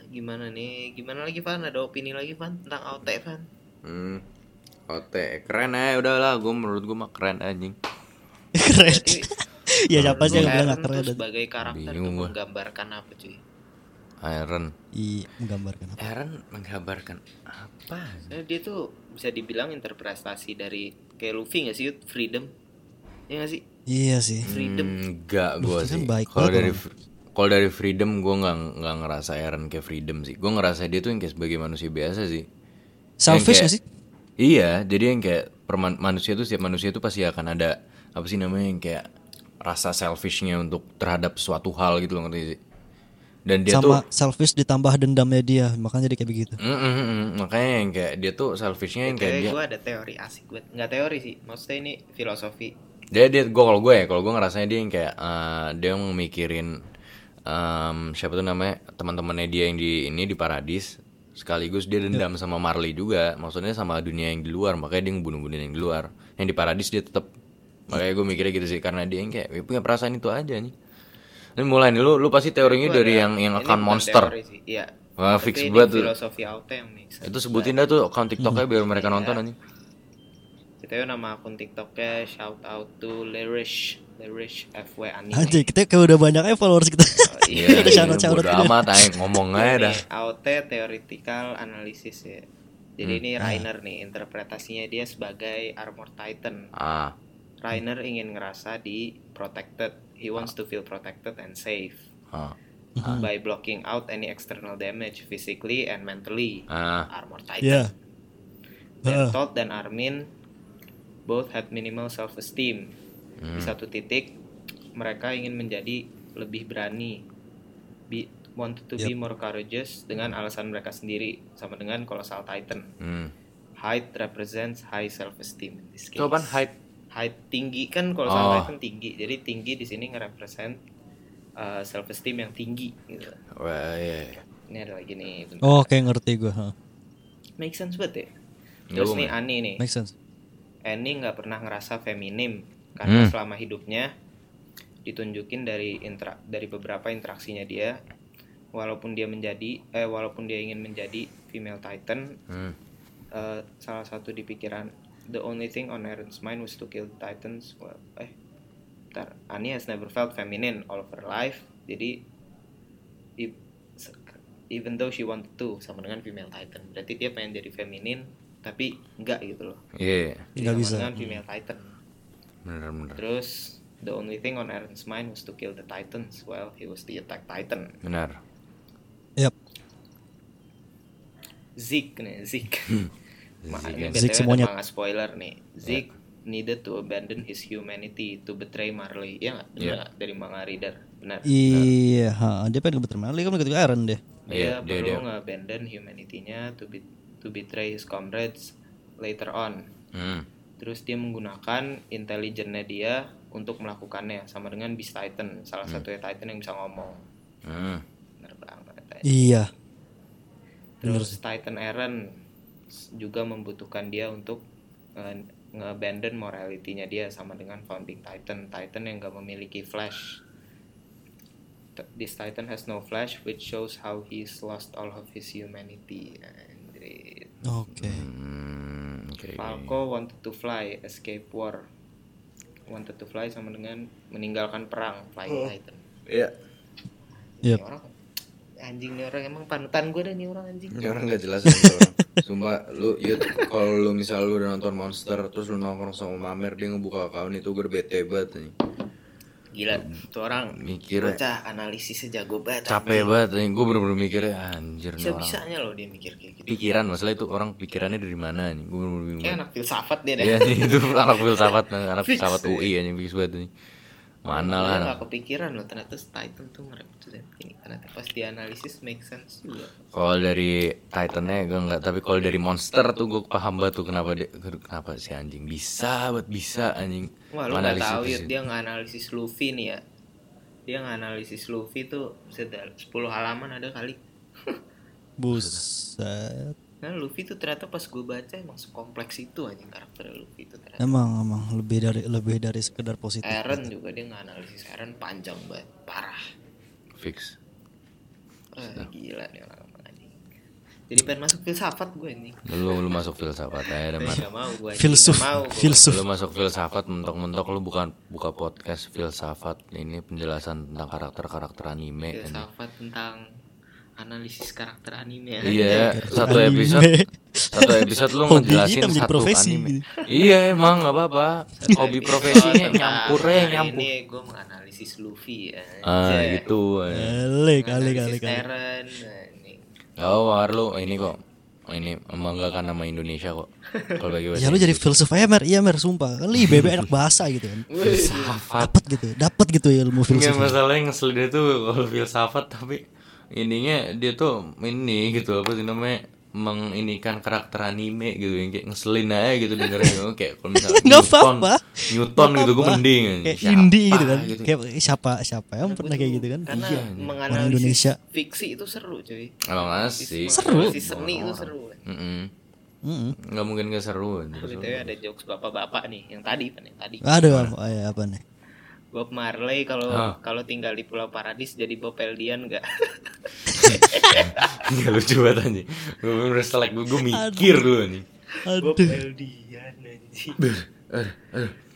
B: Gimana nih? Gimana lagi Van? Ada opini lagi Van tentang AOT Van?
A: Hmm. Ote keren eh udahlah gue menurut gue mah keren anjing.
C: Keren.
B: Berarti
C: Ya siapa sih yang bilang
B: Karen
C: gak
B: tuh
C: keren? dan-
B: sebagai karakter tuh
A: Bingung gua.
B: menggambarkan apa cuy?
A: Iron.
C: Iya, menggambarkan apa?
A: Aaron menggambarkan apa?
B: Soalnya dia tuh bisa dibilang interpretasi dari kayak Luffy gak sih? Yud? Freedom. Iya gak sih?
C: Iya sih.
B: Freedom.
A: Enggak gue
C: Berarti kan
A: sih.
C: baik
A: Kalau
C: banget
A: dari fr- kalau dari freedom gue nggak nggak ngerasa Aaron kayak freedom sih. Gue ngerasa dia tuh yang kayak sebagai manusia biasa sih.
C: Selfish
A: Yang
C: gak sih?
A: kayak- Iya, jadi yang kayak perman- manusia tuh setiap manusia tuh pasti akan ada apa sih namanya yang kayak rasa selfishnya untuk terhadap suatu hal gitu loh ngerti sih. Dan dia tuh
C: Sama selfish ditambah dendamnya dia, makanya jadi kayak begitu.
A: Mm, mm, mm, mm. makanya yang kayak dia tuh selfishnya yang Hmm, kayak
B: Kayak
A: dia
B: gue ada teori asik banget Nggak teori sih Maksudnya ini filosofi
A: dia dia gue kalau gue ya kalau gue ngerasanya dia yang kayak eh, dia yang mikirin em, siapa tuh namanya teman-temannya dia yang di ini di paradis sekaligus dia
B: Iya.
A: dendam sama Marley juga maksudnya sama dunia yang di luar makanya dia ngebunuh-bunuhin yang di luar yang di paradis dia tetap makanya gue mikirnya gitu sih karena dia yang kayak "Ya, punya perasaan itu aja nih ini mulai nih lu lu pasti teorinya
B: Gua
A: dari
B: ada-
A: yang yang
B: ini
A: account
B: bukan
A: monster
B: teori sih, Iya
A: Wah,
B: Tapi
A: fix
B: ini
A: banget tuh.
B: Filosofi auto yang mix
A: itu sebutin dah tuh account tiktoknya biar mereka
B: Iya.
A: nonton anjing
B: Kita yuk nama akun tiktoknya Shout out to Lerish Lerish FW Anime
C: Anjay, kita kayak udah banyak aja followers kita.
B: Iya,
C: Udah syarat-syarat
A: bodo
C: kita.
A: amat aing ngomong aja
B: Ini
A: dah
B: AOT Theoretical Analysis ya Jadi ini Rainer nih Interpretasinya dia sebagai Armor Titan
A: ah
B: Rainer ingin ngerasa di protected He wants to feel protected and safe
A: ah
B: by blocking out any external damage physically and mentally.
A: ah
B: Armor Titan.
C: Iya.
B: Dan Todd dan Armin both had minimal self-esteem.
A: hmm,
B: Di
C: Hmm.
B: satu titik mereka ingin menjadi lebih berani. Be, wanted to be more courageous dengan alasan mereka sendiri sama dengan Colossal Titan.
A: hmm.
B: Height represents high self-esteem in this case.
A: Itu apaan? Height?
B: Height tinggi kan kalau sama
A: Oh.
B: Titan tinggi. Jadi tinggi di sini nge-represent uh, self-esteem yang tinggi gitu.
A: Wah, iya, iya.
B: Ini ada lagi nih. bentar.
C: Oh, kayak ngerti gue. ha.
B: Make sense banget ya. Terus
A: Iya,
B: nih Ani nih.
C: Make sense.
B: Annie nggak pernah ngerasa feminim
A: Hmm.
B: karena selama hidupnya ditunjukin dari intra dari beberapa interaksinya dia walaupun dia menjadi eh walaupun dia ingin menjadi female titan
A: Hmm.
B: eh, salah satu di pikiran the only thing on Aaron's mind was to kill titans Well, eh bentar. Annie has never felt feminine all of her life jadi i- se- even though she wanted to sama dengan female titan berarti dia pengen jadi feminin tapi enggak gitu loh
A: Iya,
B: jadi
C: Nggak
B: sama
C: bisa. Hmm.
B: dengan female titan
A: bener-bener.
B: Terus the only thing on Aaron's mind was to kill the Titans while he was the attack Titan.
A: Benar.
C: Yap.
B: Zeke nih, Zeke. Ma-
A: Zeke,
B: ini
A: ya.
B: BTW
C: Hmm. Zeke
B: ada
C: semuanya.
B: manga spoiler nih. Zeke needed to abandon his humanity to betray Marley. Iya nggak? Bener
A: Iya.
B: nggak? Dari manga reader. benar
C: Iya, ha, dia pengen lebih terkenal. Dia kan ikut Aaron deh.
B: dia
A: Iya, dia-
B: perlu
A: dia-
B: nge-abandon humanity-nya to, be- to betray his comrades later on
A: Hmm.
B: terus dia menggunakan intelijennya dia untuk melakukannya sama dengan Beast Titan salah
C: Hmm.
B: satunya Titan yang bisa ngomong
A: Hmm.
B: bener banget anjing.
C: Iya.
B: Terus Titan Eren juga membutuhkan dia untuk nge- nge-abandon morality-nya dia sama dengan Founding Titan. Titan yang gak memiliki flash. T- This Titan has no flash which shows how he's lost all of his humanity. Anjrit.
C: Oke.
A: Hmm. Oke.
B: Falco wanted to fly, escape war. Wanted to fly sama dengan meninggalkan perang, Flying Titan.
A: Iya.
C: Oh. Iya.
B: Ini orang anjing nih orang emang panutan gue dah nih orang anjing.
A: Ini orang gak jelas sama orang. Sumpah lu yut kalau lu misal lu udah nonton Monster terus lu nongkrong sama Mamer dia ngebuka account itu gue udah bete banget nih.
B: Gila, tuh orang
A: Mikirnya
B: Bocah analisisnya jago banget.
A: ya. capek banget nih. Gue bener-bener mikirnya anjir nih
B: Iya. Bisa
A: orang.
B: bisanya loh dia mikir kayak gitu.
A: Pikiran masalah itu orang pikirannya dari mana nih? Gue bener-bener bingung.
B: Kayak anak filsafat dia deh.
A: Iya nih, itu anak filsafat anak
B: Fix. Iya,
A: filsafat UI anjing fix banget nih. Mana lah
B: Dia
A: anak
B: nggak kepikiran loh ternyata Titan tuh merepresent ini. Ternyata pas dianalisis make sense juga.
A: Kalau dari Titannya gue nggak, tapi kalau dari Monster tuh gue paham banget tuh kenapa dia, kenapa si anjing bisa buat bisa anjing.
B: Wah lu nggak
A: Analisis
B: tahu ya
A: fisik.
B: dia nganalisis Luffy nih ya. Dia nganalisis Luffy tuh sedal 10 halaman ada kali.
C: Buset.
B: Nah Luffy tuh ternyata pas gue baca emang sekompleks itu anjing karakter Luffy itu ternyata.
C: Emang emang lebih dari lebih dari sekedar positif.
B: Eren juga dia nganalisis Eren panjang banget parah.
A: fix.
B: Wah, Eh, gila nih orang anjing. Jadi pengen masuk filsafat gue ini.
A: Lu lu masuk filsafat aja deh, Man.
B: Gak mau gue. anjing.
C: Filsuf,
B: Eh, Nggak mau gue.
C: filsuf.
A: Lu masuk filsafat mentok-mentok lu bukan buka podcast filsafat ini penjelasan tentang karakter-karakter anime. anjing.
B: Filsafat tentang analisis karakter anime.
A: Iya, satu
C: Anime.
A: episode satu episode lu
C: Hobi kita
A: ngejelasin
C: menjadi
A: satu
C: profesi.
A: anime. Iya emang nggak apa-apa. Hobi profesinya nyampur ya
B: nyampur.
A: nyampur.
B: Ini gue menganalisis Luffy. ya.
A: Ah gitu. eh.
C: Kali kali kali kali.
B: Eren. anjing.
A: Oh, Marlo, ini kok. Ini membanggakan nama Indonesia kok. Kalau bagi bahasa
C: Ya lu jadi filsuf aja Mer, iya Mer sumpah Kali IBB enak bahasa gitu kan
A: filsafat.
C: Dapet gitu, dapet gitu ya ilmu
A: Enggak
C: filsuf
A: masalahnya ngeselin dia tuh kalau filsafat tapi ininya dia tuh ini gitu apa sih namanya menginikan karakter anime gitu yang kayak ngeselin aja gitu dengerin Oke, kayak kalau misalnya
C: Nggak
A: Newton
C: apa-apa.
A: Newton
C: Nggak
A: gitu gue
C: apa-apa.
A: mending
C: Kayak
A: Siapa
C: indie gitu kan Kayak siapa, siapa yang pernah kayak gitu kan
B: Karena
C: Iya
B: menganalisis
C: Indonesia.
B: fiksi itu seru cuy.
A: emang asik
C: Seru.
B: Menganalisis seni itu seru.
A: Mm-mm.
C: Mm-mm.
A: nggak mungkin gak seru anjing.
B: BTW ada jokes bapak-bapak nih yang tadi kan yang tadi.
C: Aduh apa, ya, apa nih
B: Bob Marley kalau
A: Ah.
B: kalau tinggal di Pulau Paradis jadi Bob Eldian enggak?
A: nggak lucu banget anjing gue bener selek gue gue mikir dulu anjing
B: Bob
C: Aduh
B: Eldian anjing.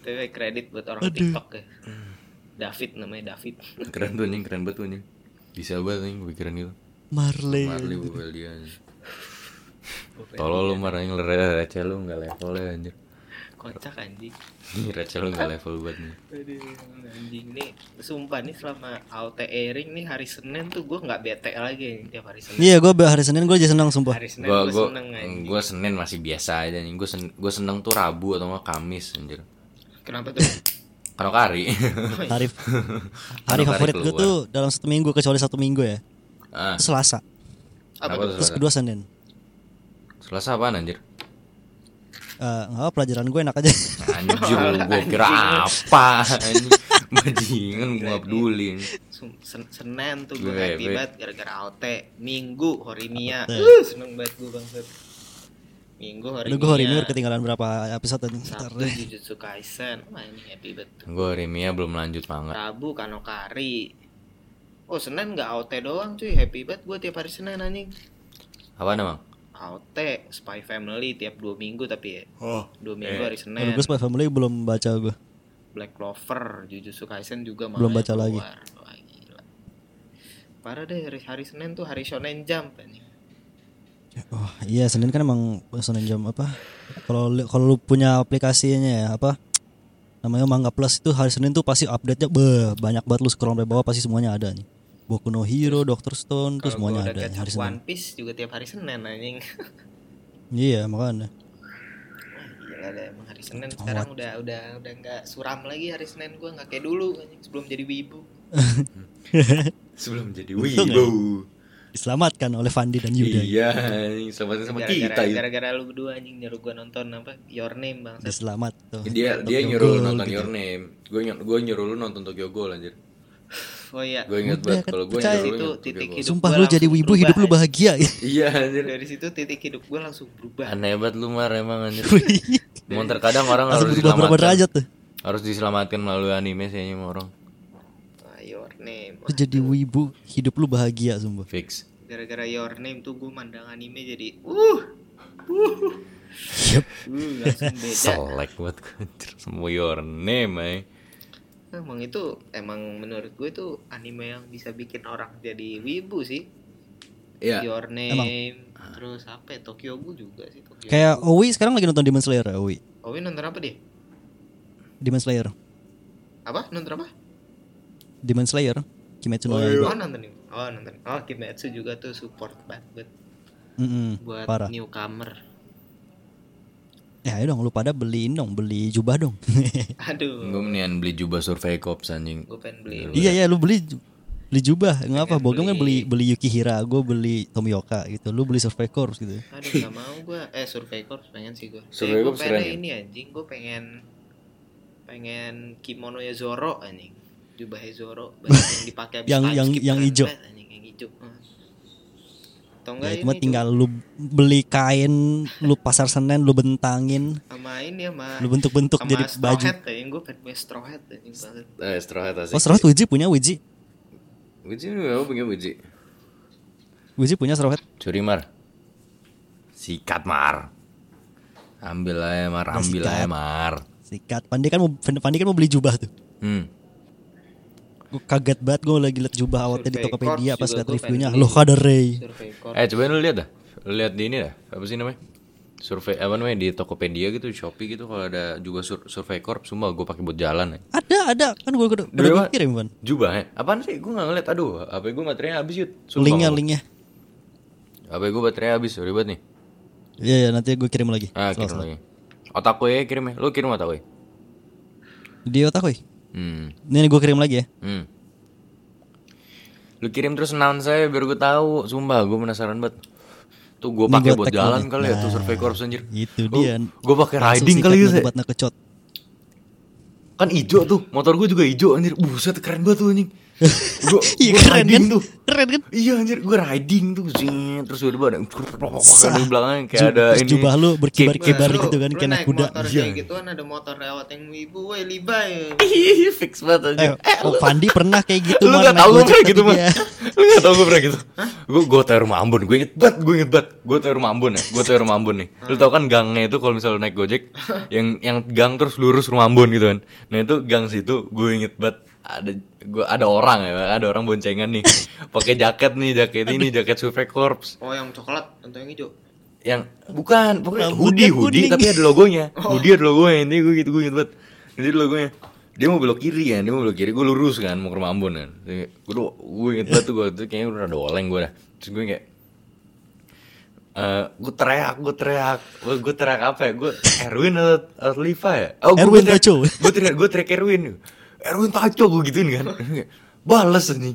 B: Tapi kredit buat orang
C: Aduh.
B: TikTok ya.
A: Hmm.
B: David namanya David.
A: keren tuh anjing keren banget tuh anjing bisa banget anjing pikiran gitu
C: Marley
A: Marli Bubel dia anjing. tolol lu marahnya ngeliat receh lu nggak level ya anjir
B: Kocak anjing.
A: receh lu nggak level banget nih
B: Aduh, anjing nih. Sumpah nih selama AOT airing nih hari Senin tuh gue nggak bete lagi nih, tiap hari Senin.
C: Iya gue hari Senin gue jadi senang sumpah
B: Hari Senin
A: gua
B: gue
A: gua
B: seneng anjing.
A: gua senin masih biasa aja anjing gua sen, gua seneng tuh rabu atau nggak kamis anjir
B: Kenapa tuh?
A: kalau kari
C: Hari Hari
A: Hari
C: favorit gue
A: keluar.
C: tuh dalam satu minggu kecuali satu minggu ya
A: ah
C: Selasa
A: apa tuh
C: Terus
A: selasa
C: kedua Senin
A: selasa apaan anjir
C: Eh, Nggak apa, pelajaran gue enak aja
A: anjir gua kira apa anjing bajingan gua nggak peduli
B: Sum- Sen- Senin tuh
A: Gue
B: gue happy
A: bete.
B: banget gara-gara AOT. Minggu Horinia.
C: AOT.
B: Uh, seneng banget gue bangsat. Minggu Horinia.
C: Aduh gue hari ini ketinggalan berapa episode anjing. Ntar
B: iya. Sabtu
C: deh.
B: Jujutsu Kaisen. Wah ini happy banget. tuh.
A: gua remia belum lanjut manga
B: Rabu Kanokari. Oh Senin nggak AOT doang cuy happy banget gue tiap hari Senin anjing.
A: apa namang
B: AOT Spy Family tiap dua minggu tapi ya.
A: Oh,
B: Dua minggu hari
C: Baru
B: Senin.
C: gue Spy Family belum baca gue
B: Black Clover Jujutsu Kaisen juga
C: Belum
B: manganya
C: baca lagi.
B: keluar. Wah, gila. Parah deh hari, hari Senin tuh hari Shonen Jump anjing.
C: Oh iya Senin kan emang Senin jam apa? Kalau li- kalau lu punya aplikasinya ya apa? Namanya Mangga Plus itu hari Senin tuh pasti update-nya beuh, banyak banget lu scroll sampai bawah pasti semuanya ada nih. Boku no Hero, Doctor Stone, tuh
B: Kalau gua
C: semuanya
B: udah
C: ada
B: catch
C: hari
B: up One
C: Senin.
B: Piece juga tiap hari Senin anjing.
C: Iya makanya.
B: Wah, Gila deh emang hari Senin sekarang udah udah udah nggak suram lagi hari Senin gua nggak kayak dulu anjing sebelum jadi wibu.
A: Sebelum jadi
C: Untung ya.
A: wibu.
C: Diselamatkan oleh Fandi dan Yuda.
A: Iya, anjing, sama sama kita.
B: gara-gara
A: itu.
B: gara-gara lu berdua anjing nyuruh gua nonton apa Your Name bang
C: Diselamat tuh.
A: Dia dia
C: Tokyo
A: nyuruh lu
C: Ghoul
A: nonton
C: gitu.
A: Your Name. Gue gue nyuruh lu nonton Tokyo Ghoul anjir.
B: oh iya
A: Gue inget
C: Udah,
A: banget
C: kan
A: kalau gue
C: percaya.
A: nyuruh lu
B: Itu
A: nonton Tokyo
B: titik
A: Ghoul.
B: hidup.
C: Sumpah
B: gua
C: lu jadi
B: langsung
C: wibu hidup lu
B: berubah,
C: bahagia. ya.
A: Iya anjir.
B: dari situ titik hidup gue langsung berubah
A: Aneh banget lu mar emang anjir. Mau terkadang orang
C: Langsung
A: harus
C: berubah berapa Iya. derajat
A: diselamatkan.
C: tuh.
A: Harus diselamatkan melalui anime sih sama orang.
B: Ah, Your Name
C: Lu jadi wibu hidup lu bahagia sumpah.
A: Fix.
B: gara-gara Your Name tuh gue mandang anime jadi uh uh, uh langsung beda
A: Selek buat gue anjir. Semua Your Name ay.
B: emang itu emang menurut gue itu anime yang bisa bikin orang jadi wibu sih
A: Iya.
B: Your Name
C: Ya. Emang. Ah.
B: terus apa ya Tokyo Ghoul juga sih Tokyo
C: Kayak Owi sekarang lagi nonton Demon Slayer Owi.
B: Ghoul. Owi nonton apa dia
C: Demon Slayer.
B: apa nonton apa
C: Demon Slayer. Kimetsu
A: Oh,
C: no Yaiba.
B: oh nonton ini. oh nonton oh Kimetsu juga tuh support banget buat-
C: Mm-mm,
B: buat
C: Parah.
B: newcomer
C: Eh ayo dong lu pada beliin dong, beli jubah dong.
B: aduh
A: Gue mendingan beli jubah survei kops anjing.
B: gue pengen beli
C: iya ya lu beli ju- beli jubah. Enggak apa,
B: Pengen
C: Bogem kan
B: Iya, beli-
C: beli beli Yukihira, gue beli Tomioka gitu. Lu beli Survey Corps gitu.
B: Aduh gak mau gue Eh Survey Corps pengen sih gue
A: Survey Corps
B: pengen
A: keren ya?
B: ini anjing Gue pengen Pengen kimono ya Zoro anjing Jubah Zoro baju Yang dipakai abis
C: Yang-
B: time
C: yang-
B: skip
C: yang
B: keren
C: ijo.
B: banget, anjing, Yang hijau Hmm. Atau enggak
C: Ya,
B: ini
C: cuma
B: tuh,
C: tinggal lu beli kain, lu pasar Senen lu bentangin,
B: Sama ini sama
C: lu bentuk-bentuk
B: sama
C: jadi
B: straw
C: baju.
B: hat anjing Gue pengen punya straw hat anjing banget
A: Eh, straw hat asik.
C: Oh, Survey Wiji punya Wiji.
A: Wiji ini memang punya Wiji.
C: Wiji punya Survey.
A: Curi mar. Sikat mar. Ambil aja mar,
C: Udah
A: ambil
C: sikat.
A: aja mar.
C: Sikat. Pandi kan mau Pandi kan mau beli jubah tuh.
A: Hmm.
C: Gue kaget banget gue lagi liat jubah awalnya di
B: Survey
C: Tokopedia
B: Corps
C: pas
B: juga
C: liat
B: gua
C: reviewnya.
B: pengen
C: Loh
B: beli.
C: ada Ray.
B: Survey Corps
A: Eh cobain lu lihat dah. Lu lihat di ini dah. Apa sih namanya? Survei apa namanya di Tokopedia gitu, Shopee gitu kalau ada juga sur survei korp semua gue pakai buat jalan ya.
C: Ada ada kan gue udah
A: Dulu
C: udah
A: apa?
C: kirim kan.
A: Jubah ya? Apaan sih? Gue gak ngeliat. Aduh, HP gue baterainya habis yut. Sumpah
C: Linknya
A: ngomong.
C: linknya.
A: HP gue baterainya habis, sorry banget nih.
C: Iya ya nanti gue kirim lagi.
A: Ah, kirim lagi. Otak gue ya kirim ya. Lu kirim otak gue.
C: Di otak woi.
A: Hmm.
C: Ini gue kirim lagi ya.
A: Hmm. Lu kirim terus noun saya biar gue tahu. Sumpah, gue penasaran banget. Tuh gue
C: Nih
A: pakai
C: gua
A: buat
C: tag
A: jalan
C: lagi.
A: kali ya tuh
C: Nah,
A: survei korps anjir.
C: Itu
A: Gua-
C: dia.
A: Gue pakai
C: Langsung
A: riding
C: sikat
A: kali ya.
C: nanti
A: Zek.
C: Buat ngekecot.
A: Kan ijo tuh, motor gue juga ijo anjir. Buset keren banget tuh anjing. Gua,
C: Iya
A: gua
C: keren kan?
A: riding tuh.
C: Keren kan?
A: Iya anjir, gue riding tuh zing. Terus tiba-tiba ada
C: Sah.
A: di belakangnya kayak
C: Ju-
A: ada
C: terus
A: ini.
C: jubah lu berkibar-kibar
B: Lu-
C: gitu kan
B: lu
C: kayak anak
B: naik
C: kuda.
B: motor
A: Iya.
B: kayak gituan ada motor lewat yang wibu woi libay
A: Ih, fix banget
C: Eh,
A: anjir.
C: oh, Fandi pernah kayak gitu
A: lu
C: Mar,
A: gak
C: naik
A: tau
C: Iya.
A: gue
C: gojek
A: pernah
C: tapi
A: gitu mah
C: dia-
A: lu gak tau gue pernah gitu gue gue tahu rumah Ambon gue inget banget gue inget banget gue tahu rumah Ambon ya gue tahu rumah Ambon nih lu tau kan gangnya itu kalau misalnya lu naik gojek yang yang gang terus lurus rumah Ambon gitu kan nah itu gang situ gue inget banget ada gue ada orang ya ada orang boncengan nih pakai jaket nih jaket ini jaket survei korps
B: oh yang coklat atau yang hijau
A: yang bukan pokoknya
C: Rambutnya
A: hoodie hoodie Oh.
C: kuning.
A: tapi ada logonya hoodie ada logonya ini gue gitu gue gitu banget jadi ada logonya dia mau belok kiri kan dia mau belok kiri gue lurus kan mau ke rumah Ambon kan gue gue inget banget tuh gue tuh kayaknya udah doleng gue dah terus gue kayak eh gue teriak, gue teriak, gue, gue teriak apa ya? Gue Erwin atau, atau Liva ya? Oh, gue-
C: Erwin
A: gue teriak-
C: Taco.
A: Gue teriak, gue teriak Erwin. Erwin Taco gue gituin kan. Balas anjing.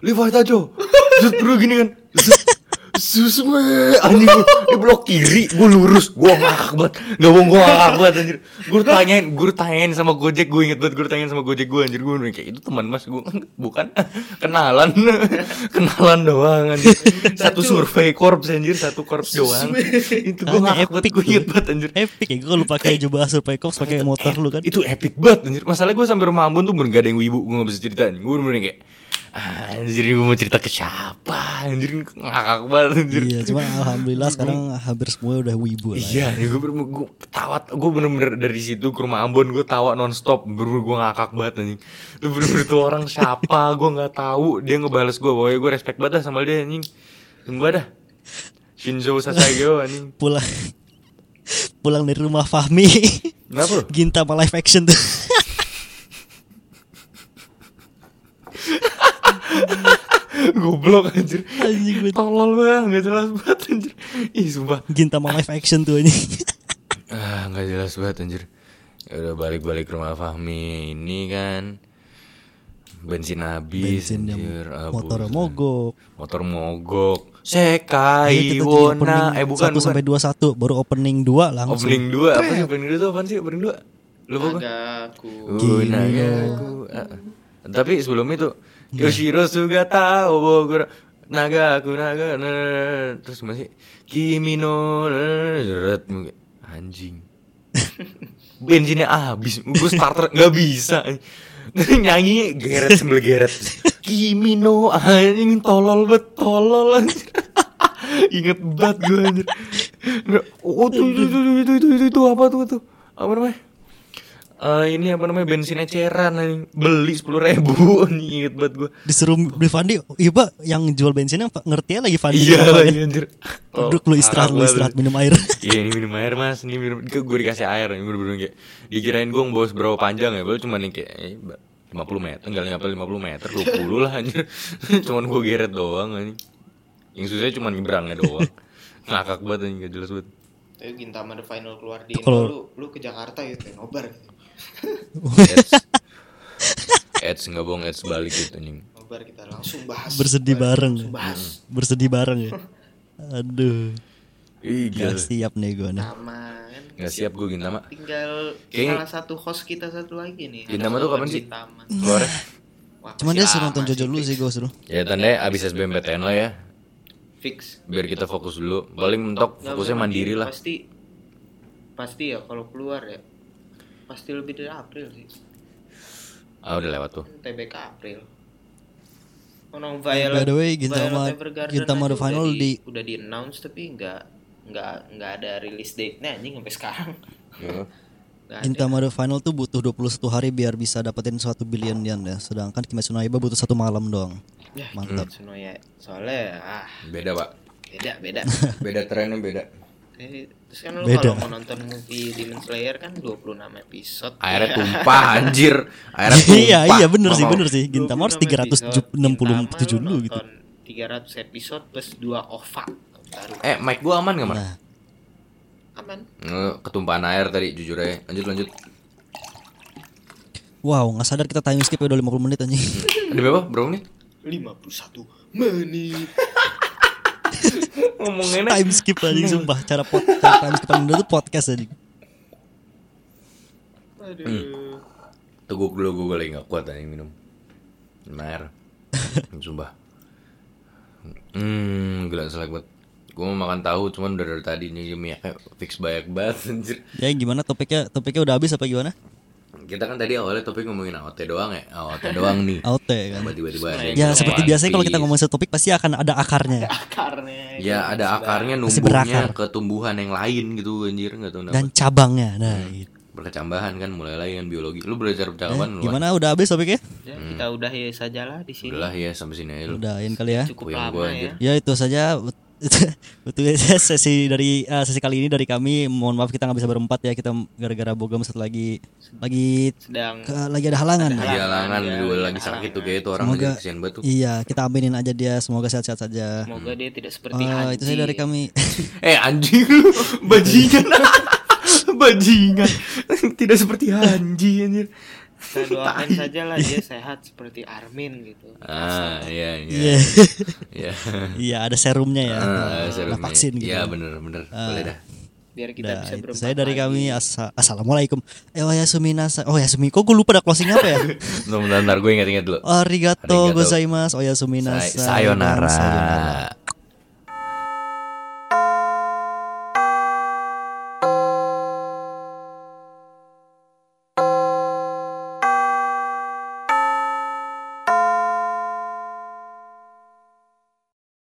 A: Liva Taco. Terus gue gini kan. Susme anjing gue di blok kiri, gue lurus, gue ngakak banget. Gak bohong gue ngakak banget anjir. Gue tanyain, gue tanyain sama Gojek, gue inget banget gue tanyain sama Gojek gue anjir. Gue kayak itu teman Mas gue bukan kenalan. kenalan doang anjir. Satu
B: Taco.
A: survei korps anjir, satu korps doang. Itu gue
C: Soalnya
A: ngakak banget, gue
C: tuh.
A: inget banget anjir.
C: Epic ya gue lupa kayak jubah Survey Corps pakai motor lu kan.
A: Itu epic banget anjir. Masalahnya gue sampai rumah Ambon tuh bener gak ada yang wibu, gue gak bisa ceritain. Gue bener kayak "Ah, Anjir gue mau cerita ke siapa Anjir ngakak banget anjir
C: Iya, cuman alhamdulillah sekarang hampir semua udah wibu lah.
A: Iya, ya, gue bener gue tawa, gue bener-bener dari situ ke rumah Ambon gue tawa nonstop, bener gue ngakak banget anjing. Itu bener-bener tuh orang siapa, gue nggak tahu. Dia ngebales gue, pokoknya gue respect banget dah sama dia anjing. Sumpah dah. Shinzo Sasageo anjing.
C: Pulang pulang dari rumah Fahmi.
A: Kenapa lu?
C: Gintama live action tuh.
A: Goblok anjir.
C: Anjing gue.
A: Tolol banget, nggak jelas banget anjir. Ih sumpah.
C: Gintama live action tuh ini.
A: Ah nggak jelas banget anjir. Ya udah balik-balik ke rumah Fahmi ini kan. bensin habis,
C: bensin yang
A: anjir, ah,
C: motor
A: buset.
C: mogok
A: motor mogok.
C: Iya,
A: Sekai
C: kita jadi
A: wona, eh bukan,
C: 1 sampai
A: bukan.
C: 21 baru opening 2 langsung Iya.
A: Opening 2 apa sih opening 2 tuh apaan sih opening 2? Lupa gua.
B: Nagaku
A: ya, Nagaku. ah, Tapi sebelum itu
C: Iya.
A: Yoshiro Sugata Oboguro Naga aku naga na- na- na- terus masih Kimi no na- na- zeret. anjing. Bensinnya ah, habis, gue starter nggak bisa. Nyanyi geret sambil geret. Kimi no anjing tolol bet tolol anjing. Ingat banget gue anjir. Oh itu itu itu itu itu, itu, itu apa tuh tuh? Apa namanya? Eh ini apa namanya bensin eceran anjing. beli sepuluh ribu inget banget gue
C: disuruh beli Fandi iya pak yang jual bensinnya Pak, ngerti lagi Fandi
A: iya
C: Pak. ya.
A: lagi anjir Oh,
C: duduk lu istirahat lu
A: parah
C: istirahat
A: banget.
C: minum air
A: iya ini minum air mas ini minum gue dikasih air ini bener-bener kayak dikirain gue bawa seberapa panjang ya baru cuman yang kayak eh, ba- 50 meter enggak nyampe 50 meter 20 lah anjir cuman gue geret doang anjing yang susah cuman nyebrangnya doang ngakak banget anjing gak jelas banget
B: Tapi Gintama The Final keluar di Indo,
C: Kalau-
B: lu, lu ke Jakarta ya, ke nobar
A: Ads Ads nggak bohong ads balik gitu anjing
B: Nobar kita langsung bahas
C: bersedih bareng
B: Langsung bahas
A: Hmm.
C: bersedih bareng ya aduh
A: Ih, gila.
C: gak siap nih gue nih
B: Gintama kan
A: Nggak siap gue Gintama
B: Tinggal
A: Nah. Ya. Kayaknya-
B: salah satu host kita satu lagi nih
A: Gintama
B: Ada
A: tuh kapan
B: Nobar
A: sih?
B: Gintama.
A: Keluarnya
B: Wah,
C: cuman
B: masih
C: dia suruh
B: lama
C: nonton Jojo dulu sih gue suruh
A: Ya tandanya abis SBMPTN lah ya
B: Fix
A: Biar kita fokus dulu Paling mentok
B: Nggak
A: fokusnya
B: usah
A: mandiri lah
B: Pasti Pasti ya kalau keluar ya Pasti lebih dari April sih Kan
A: Ah udah lewat tuh
B: TBK April Oh, no,
C: By
B: Violet,
C: the way, Gintama-
B: Violet Evergarden
C: Gintama
B: aja
C: The Final
B: udah
C: di-
B: udah di announce tapi nggak nggak nggak ada release date nya anjing sampai sekarang.
A: Iya.
B: Nggak ada.
C: Gintama The Final tuh butuh 21 hari biar bisa dapetin suatu billion yen ya sedangkan Kimetsu no Yaiba butuh satu malam doang
B: Ya,
A: Hmm.
C: mantap.
B: Kimetsu no ya. Soalnya ah
A: Beda pak
B: beda beda.
A: Beda trennya beda
B: Eh, Terus kan lu
C: Beda.
B: kalau mau nonton movie Demon Slayer kan 26 episode.
A: Airnya tumpah anjir Airnya tumpah
C: iya iya bener sih
A: Mama.
C: bener sih Gintama harus 367 dulu gitu
B: 300 episode plus 2 OVA. Baru
A: Eh mic gua aman gak man?
C: nah
B: aman.
A: Eh, Ketumpahan air tadi jujur aja Lanjut lanjut
C: wow nggak sadar kita time skip ya udah 50 menit anjing
A: Ada berapa? Berapa menit?
B: 51 menit.
A: Ngomonginnya
C: time skip anjing sumpah cara pot cara time skip paling dulu tuh podcast anjing
B: Aduh.
A: Hmm. Teguk dulu gue lagi gak kuat anjing minum Minum air Sumpah Hmm gila selek banget Gue mau makan tahu cuman udah dari tadi nih minyaknya fix banyak banget anjir
C: ya gimana topiknya topiknya udah habis apa gimana
A: Kita kan tadi awalnya topik ngomongin AOT doang ya AOT doang nih
C: out ya kan
A: Tiba-tiba ada yang
C: ya
A: ngomong
C: seperti
A: One
C: biasanya kalau kita
A: Piece.
C: ngomong satu topik pasti akan ada akarnya
B: Akarnya.
A: Ya ada akarnya
C: Iya, Masih
A: numbuhnya
C: berakar.
A: ke tumbuhan yang lain gitu anjir Gak tau kenapa
C: dan cabangnya nah gitu.
A: Berkecambahan kan mulai lagi dengan biologi Lu belajar percakapan lu
C: gimana udah habis topiknya
B: Ya, kita udah ya sajalah di sini.
A: Hmm. Udah lah ya sampai sini aja lu
C: udahin kali ya
B: Cukup
A: Puyeng
B: lama
A: gua,
B: ya.
A: anjir.
C: ya itu saja betul ya, sesi dari eh, sesi kali ini dari kami mohon maaf kita nggak bisa berempat ya kita gara-gara bogem satu lagi lagi
B: Sedang
C: ke- lagi ada halangan
A: Di Jalangan
C: Iya,
B: ya,
A: gue
B: di
A: lagi sakit tuh kayak itu orang
C: Semoga-
A: aja kesian banget tuh
C: iya kita aminin aja dia semoga sehat-sehat saja
B: semoga dia tidak seperti
C: Eh, itu saja dari kami
A: Eh anjing lu bajingan Bajingan Tidak seperti Hanji anjir
B: Kita doakan saja lah dia sehat seperti Armin gitu.
A: Ah iya iya
C: Iya.
A: Iya
C: Iya ada serumnya ya.
A: Ah,
C: Ada
A: serumnya.
C: vaksin gitu.
A: Iya bener bener Boleh dah
B: Biar kita
C: Nah,
B: bisa
C: itu
B: berempat.
C: saya dari
B: lagi.
C: kami Assa- assalamualaikum. Eh oh ya suminasa. Oh ya sumi. Kok gue lupa dah closing apa ya? Oh,
A: Bentar bentar gue inget-inget dulu
C: Arigato
A: Arigato.
C: gozaimasu. Oh ya suminasa.
A: Say- sayonara.